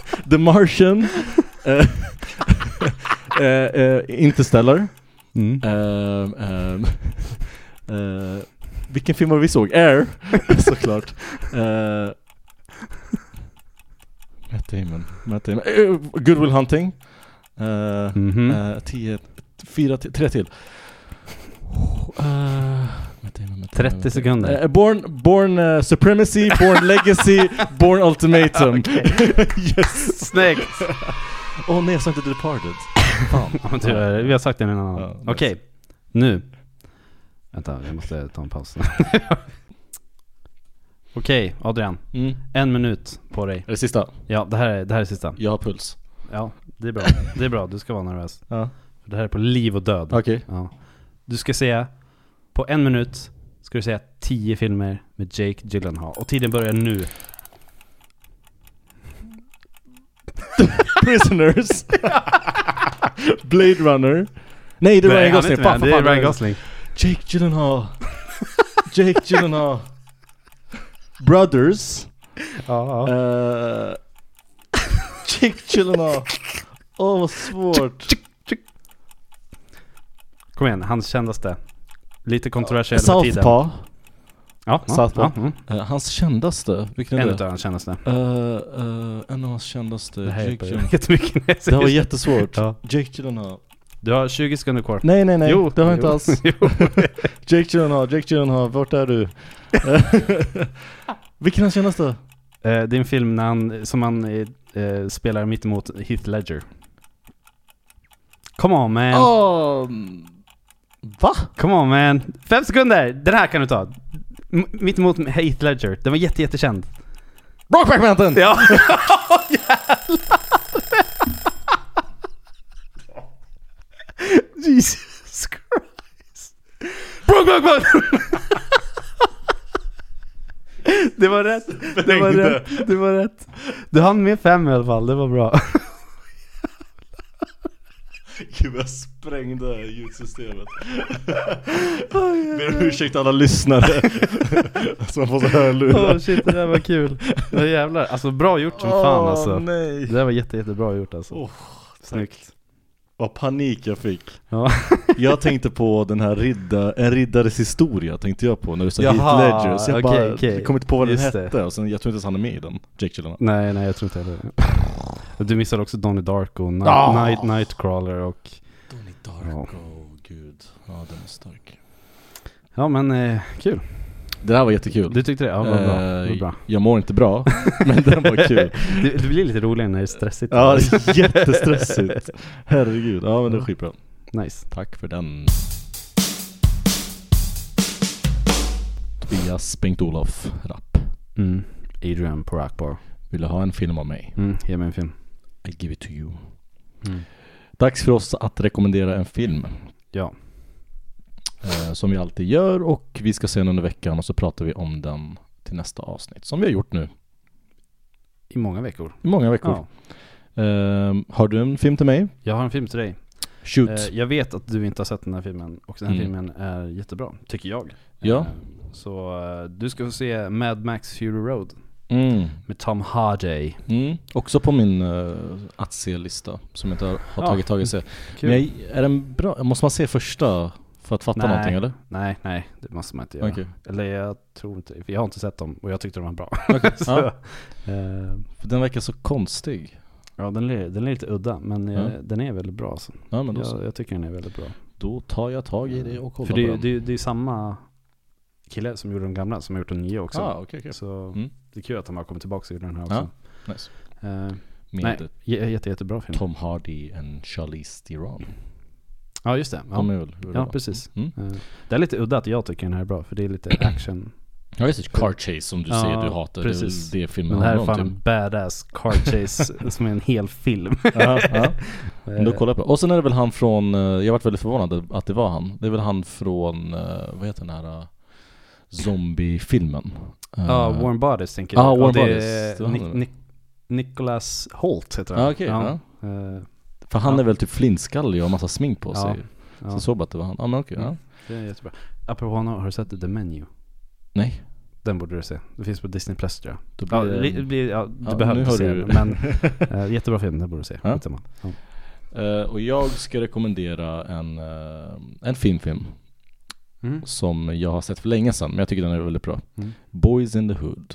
The Martian. eh, eh, Mm. Ehm, eh, Interstellar. Um, um, uh, Vilken film var det vi såg? Air! Såklart. Uh, Matt Damon. Matt Damon. Eh, Good Will Hunting. Eh,
Mhm.
eh, tio, fyra, till- tre till. Eh, Matt Damon, Matt Damon,
30
Matt Damon.
sekunder.
Eh, born born eh, Supremacy, Born Legacy, Born Ultimatum. yes!
Snyggt!
Åh nej, jag sa inte The Departed.
Ja, men tyvärr, vi har sagt det i en annan.
Ja, nice.
Okej, nu. Vänta, jag måste ta en paus. Okej, Adrian.
Mm.
En minut på dig.
Är det sista?
Ja, det här är, det här är sista.
Jag har puls.
Ja, det är bra. Det är bra, du ska vara nervös.
Ja.
För det här är på liv och död.
Okej.
Ja. Du ska säga, på en minut ska du säga tio filmer med Jake Gyllenhaal. Och tiden börjar nu.
Prisoners Blade Runner Nej det är Ryan Gosling, fan, fan,
Det är
fan,
Ryan Gosling.
Jake Gyllenhaal Jake Gyllenhaal Brothers
Ja,
Eh, Jake Gyllenhaal Åh vad svårt
Kom igen, hans kändaste. Lite kontroversiell med tiden.
Southpaw
Ja, ja,
Southpaw.
Ja, mm.
Eh, Hans kändaste, vilken
En
är
utav
det?
hans kändaste.
Eh, eh, en av hans kändaste,
Det här
Jake
hjälper ju
Gyllenhaal
jättemycket. när jag
Det här var
säger-
jättesvårt
Ja.
Jake Gyllenhaal
Du har 20 sekunder kvar.
Nej nej nej,
Jo,
det har jag inte
jo,
alls Jake Gyllenhaal, Jake Gyllenhaal, vart är du? Vilken är hans senaste?
Eh, det är en film när han, som han eh, eh, spelar mittemot Heath Ledger. Come on man,
Um, va?
come on man. Fem sekunder! Den här kan du ta. M- mittemot Heath Ledger. Den var jätte, jättekänd.
Brokeback Mountain!
Ja! Jesus Christ. Broke, broke, broke. Det var rätt. Det var
Bängde.
rätt. Det var rätt. Du hann med fem i alla fall, det var bra.
Gud jag sprängde ljudsystemet Ber om ursäkt alla lyssnare som får så här
Åh
lurar
shit, det där var kul. Det där jävlar. Alltså bra gjort som fan alltså.
nej
Det där var jätte, jättebra gjort alltså.
Åh,
Snyggt.
Vad panik jag fick
Ja.
Jag tänkte på den här ridda, en riddares historia tänkte jag på när du sa
Jaha,
Heath Ledger Så jag
okej,
bara,
okej.
kom inte på vad den
Just det.
hette och sen jag tror inte ens han är med i den, Jake Gyllenhaal
Nej, nej jag tror inte heller det. Du missade också Donnie Darko, Night,
Ah.
Night, Nightcrawler och...
Donnie Darko, gud. Ja, den är stark.
Ja men eh, kul.
Det där var jättekul.
Du tyckte det? Ja, vad bra.
Eh,
Vad bra.
Jag mår inte bra, men den var kul.
Det, det blir lite roligare när det är stressigt.
Ja, det är jättestressigt. Herregud. Ja, men det är skitbra.
Nice.
Tack för den. Tobias Bengt-Olof Rapp.
Mm. Adrian på Rockbar.
Vill du ha en film av mig?
Mm, ge mig en film.
I give it to you.
Mm.
Dags för oss att rekommendera en film.
Ja.
eh, som vi alltid gör och vi ska se den under veckan och så pratar vi om den till nästa avsnitt. Som vi har gjort nu
I många veckor.
i många veckor.
Ja.
Ehm, har du en film till mig?
Jag har en film till dig.
Shoot.
Eh, jag vet att du inte har sett den här filmen och den här
Mm.
filmen är jättebra, tycker jag.
Ja.
Eh, så eh, du ska få se Mad Max Fury Road
Mm.
med Tom Hardy.
Mm. Också på min eh, att se-lista som jag inte har, har
Ja.
tagit tag i se.
Kul.
Men jag, är den bra? Måste man se första för att fatta
Nej.
någonting eller?
Nej, nej, det måste man inte göra.
Okej.
Eller jag tror inte för jag har inte sett dem och jag tyckte de var bra. så,
Ja.
eh,
För den verkar så konstig.
Ja den är, den är lite udda men eh,
Ja.
den är väldigt bra alltså.
Ja men då, så.
jag, jag tycker den är väldigt bra.
då tar jag tag i det och kollar
För det är
på
ju
den.
det, är- det är samma kille som gjorde de gamla som har gjort den nya också. Alltså.
ah, okej okej.
Så
Mm.
det är kul att han har kommit tillbaka och gjort den här
Ja.
också.
Nice.
Eh,
Med
nej, j- jätte, jättebra film.
Tom Hardy and Charlize Theron.
Ja just det.
De
Ja,
är väl hur det
ja
var.
precis.
Mm.
Eh, det är lite udda att jag tycker den här är bra för det är lite action.
Ja just det, Car Chase som du
Ja,
säger du hatar.
precis.
Det är väl det filmen
Den här är
handlar
fan
om typ.
en badass car chase som är en hel film.
Ja, ja. Men Då
Eh,
kollar jag på det. Och sen är det väl han från, eh, jag varit väldigt förvånad att det var han. Det är väl han från, eh, vad heter den här eh, zombiefilmen? Eh,
Ja, Warm Bodies tänker jag.
Ja,
Och
Warm
det är
Ah, Bodies. Det var
Nic-
han.
Nic- Nicholas Holt heter han.
Ja, Ah, okej, ja.
Eh,
För han
Ja.
är väl typ flintskallig och har massa smink på
Ja,
sig. Så
ja.
jag såg bara att det var han. Ja men okej, ja.
Mm. Det är jättebra. Apropå honom, har du sett The Menu?
Nej.
Den borde du se. Det finns på Disney Plus tror jag.
Då blir
Ja,
det-
li, li, ja, du
Ja,
behöver
nu
inte
har
se
du-
den, men eh, jättebra film, den borde du se.
Ja.
Skitsamma. Ja.
Eh, och jag ska rekommendera en, eh, en fin film.
Mm.
som jag har sett för länge sedan, men jag tycker den är väldigt bra.
Mm.
Boys in the Hood.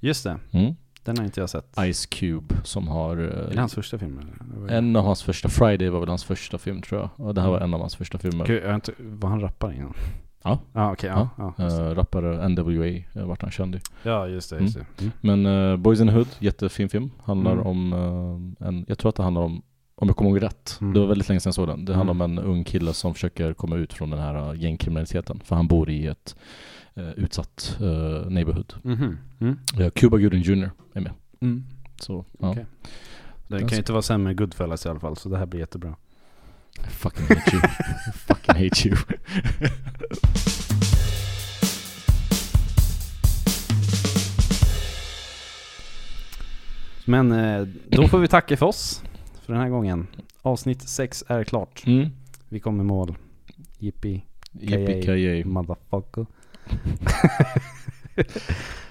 Just det,
Mm.
den har inte jag sett.
Ice Cube som har...
Är det
eh,
hans första film? eller? Det var ju-
en av hans första, Friday var väl hans första film tror jag. Och det här var en av hans första filmer.
Gud, jag har inte, var han rappare innan?
Ja.
Ja, okej. ja, ja, just det.
Eh, rappare NWA eh, vart han känd i.
ja, just det. Just det. Mm.
Men eh, Boys in the Hood, jättefin film. Handlar
Mm.
om eh, en, jag tror att det handlar om, om jag kommer ihåg rätt,
Mm.
det var väldigt länge sedan jag såg den. Det handlar om en ung kille som försöker komma ut från den här eh, gängkriminaliteten. För han bor i ett eh, utsatt eh, neighborhood.
Mhm. Mm.
Eh, Cuba Gooding Jr är med.
Mm.
Så, ja.
Okej. Det
Den
kan ju
ska-
inte vara sämre än Goodfellas i alla fall, så det här blir jättebra.
I fucking hate you. fucking hate you.
Men eh, då får vi tacka för oss för den här gången. Avsnitt 6 är klart.
Mm.
Vi kommer i mål. Yippee,
Yippee-ki-yay.
motherfucker.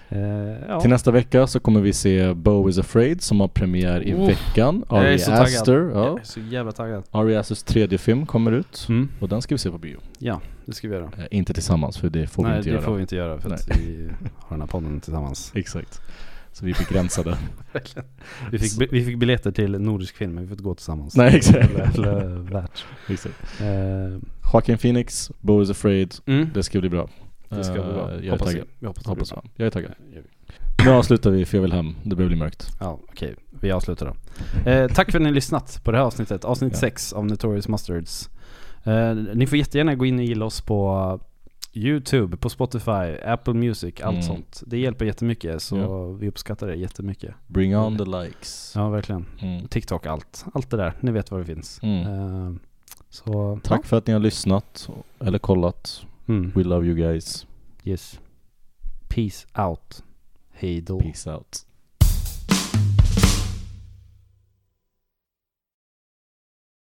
eh, ja.
Till nästa vecka så kommer vi se Bo is afraid som har premiär i
Oh,
veckan.
jag är
Ari
så taggad.
Aster.
Jag
Ja.
är så jävla taggad.
Ari Asters tredje film kommer ut.
Mm.
Och den ska vi se på bio.
Ja, det ska vi göra.
Eh, inte tillsammans för det får
Nej,
vi inte
det
göra.
får vi inte göra för att vi har den här podden tillsammans.
Exakt. Så vi är begränsade.
Vi fick, bi- vi fick biljetter till nordisk film, men vi får inte gå tillsammans.
Nej, exakt.
Eller- eller värt.
Exakt.
Eh,
Joaquin Phoenix, Bo is afraid.
mm.
Det ska bli bra.
Det ska
Eh,
bli bra.
Jag är
Hoppas vi.
taggad.
Vi hoppas det
Hoppas
blir bra.
jag. Jag är taggad.
Eh, gör vi.
Nu avslutar vi för jag vill hem. Det börjar bli mörkt.
Ja, okej. Vi avslutar då. Eh, tack för att ni har lyssnat på det här avsnittet. Avsnitt
Ja.
6 av Notorious Mustards. Eh, ni får jättegärna gå in och gilla oss på Youtube, på Spotify, Apple Music, allt
Mm.
sånt. Det hjälper jättemycket, så
Ja.
vi uppskattar det jättemycket.
Bring on the likes.
Ja, verkligen.
Mm.
TikTok, allt. Allt det där. Ni vet var det finns.
Mm.
Eh, så,
Tack för att ni har lyssnat eller kollat.
Ja. Mm.
We love you guys.
Yes. Peace out. Hej då.
Peace out.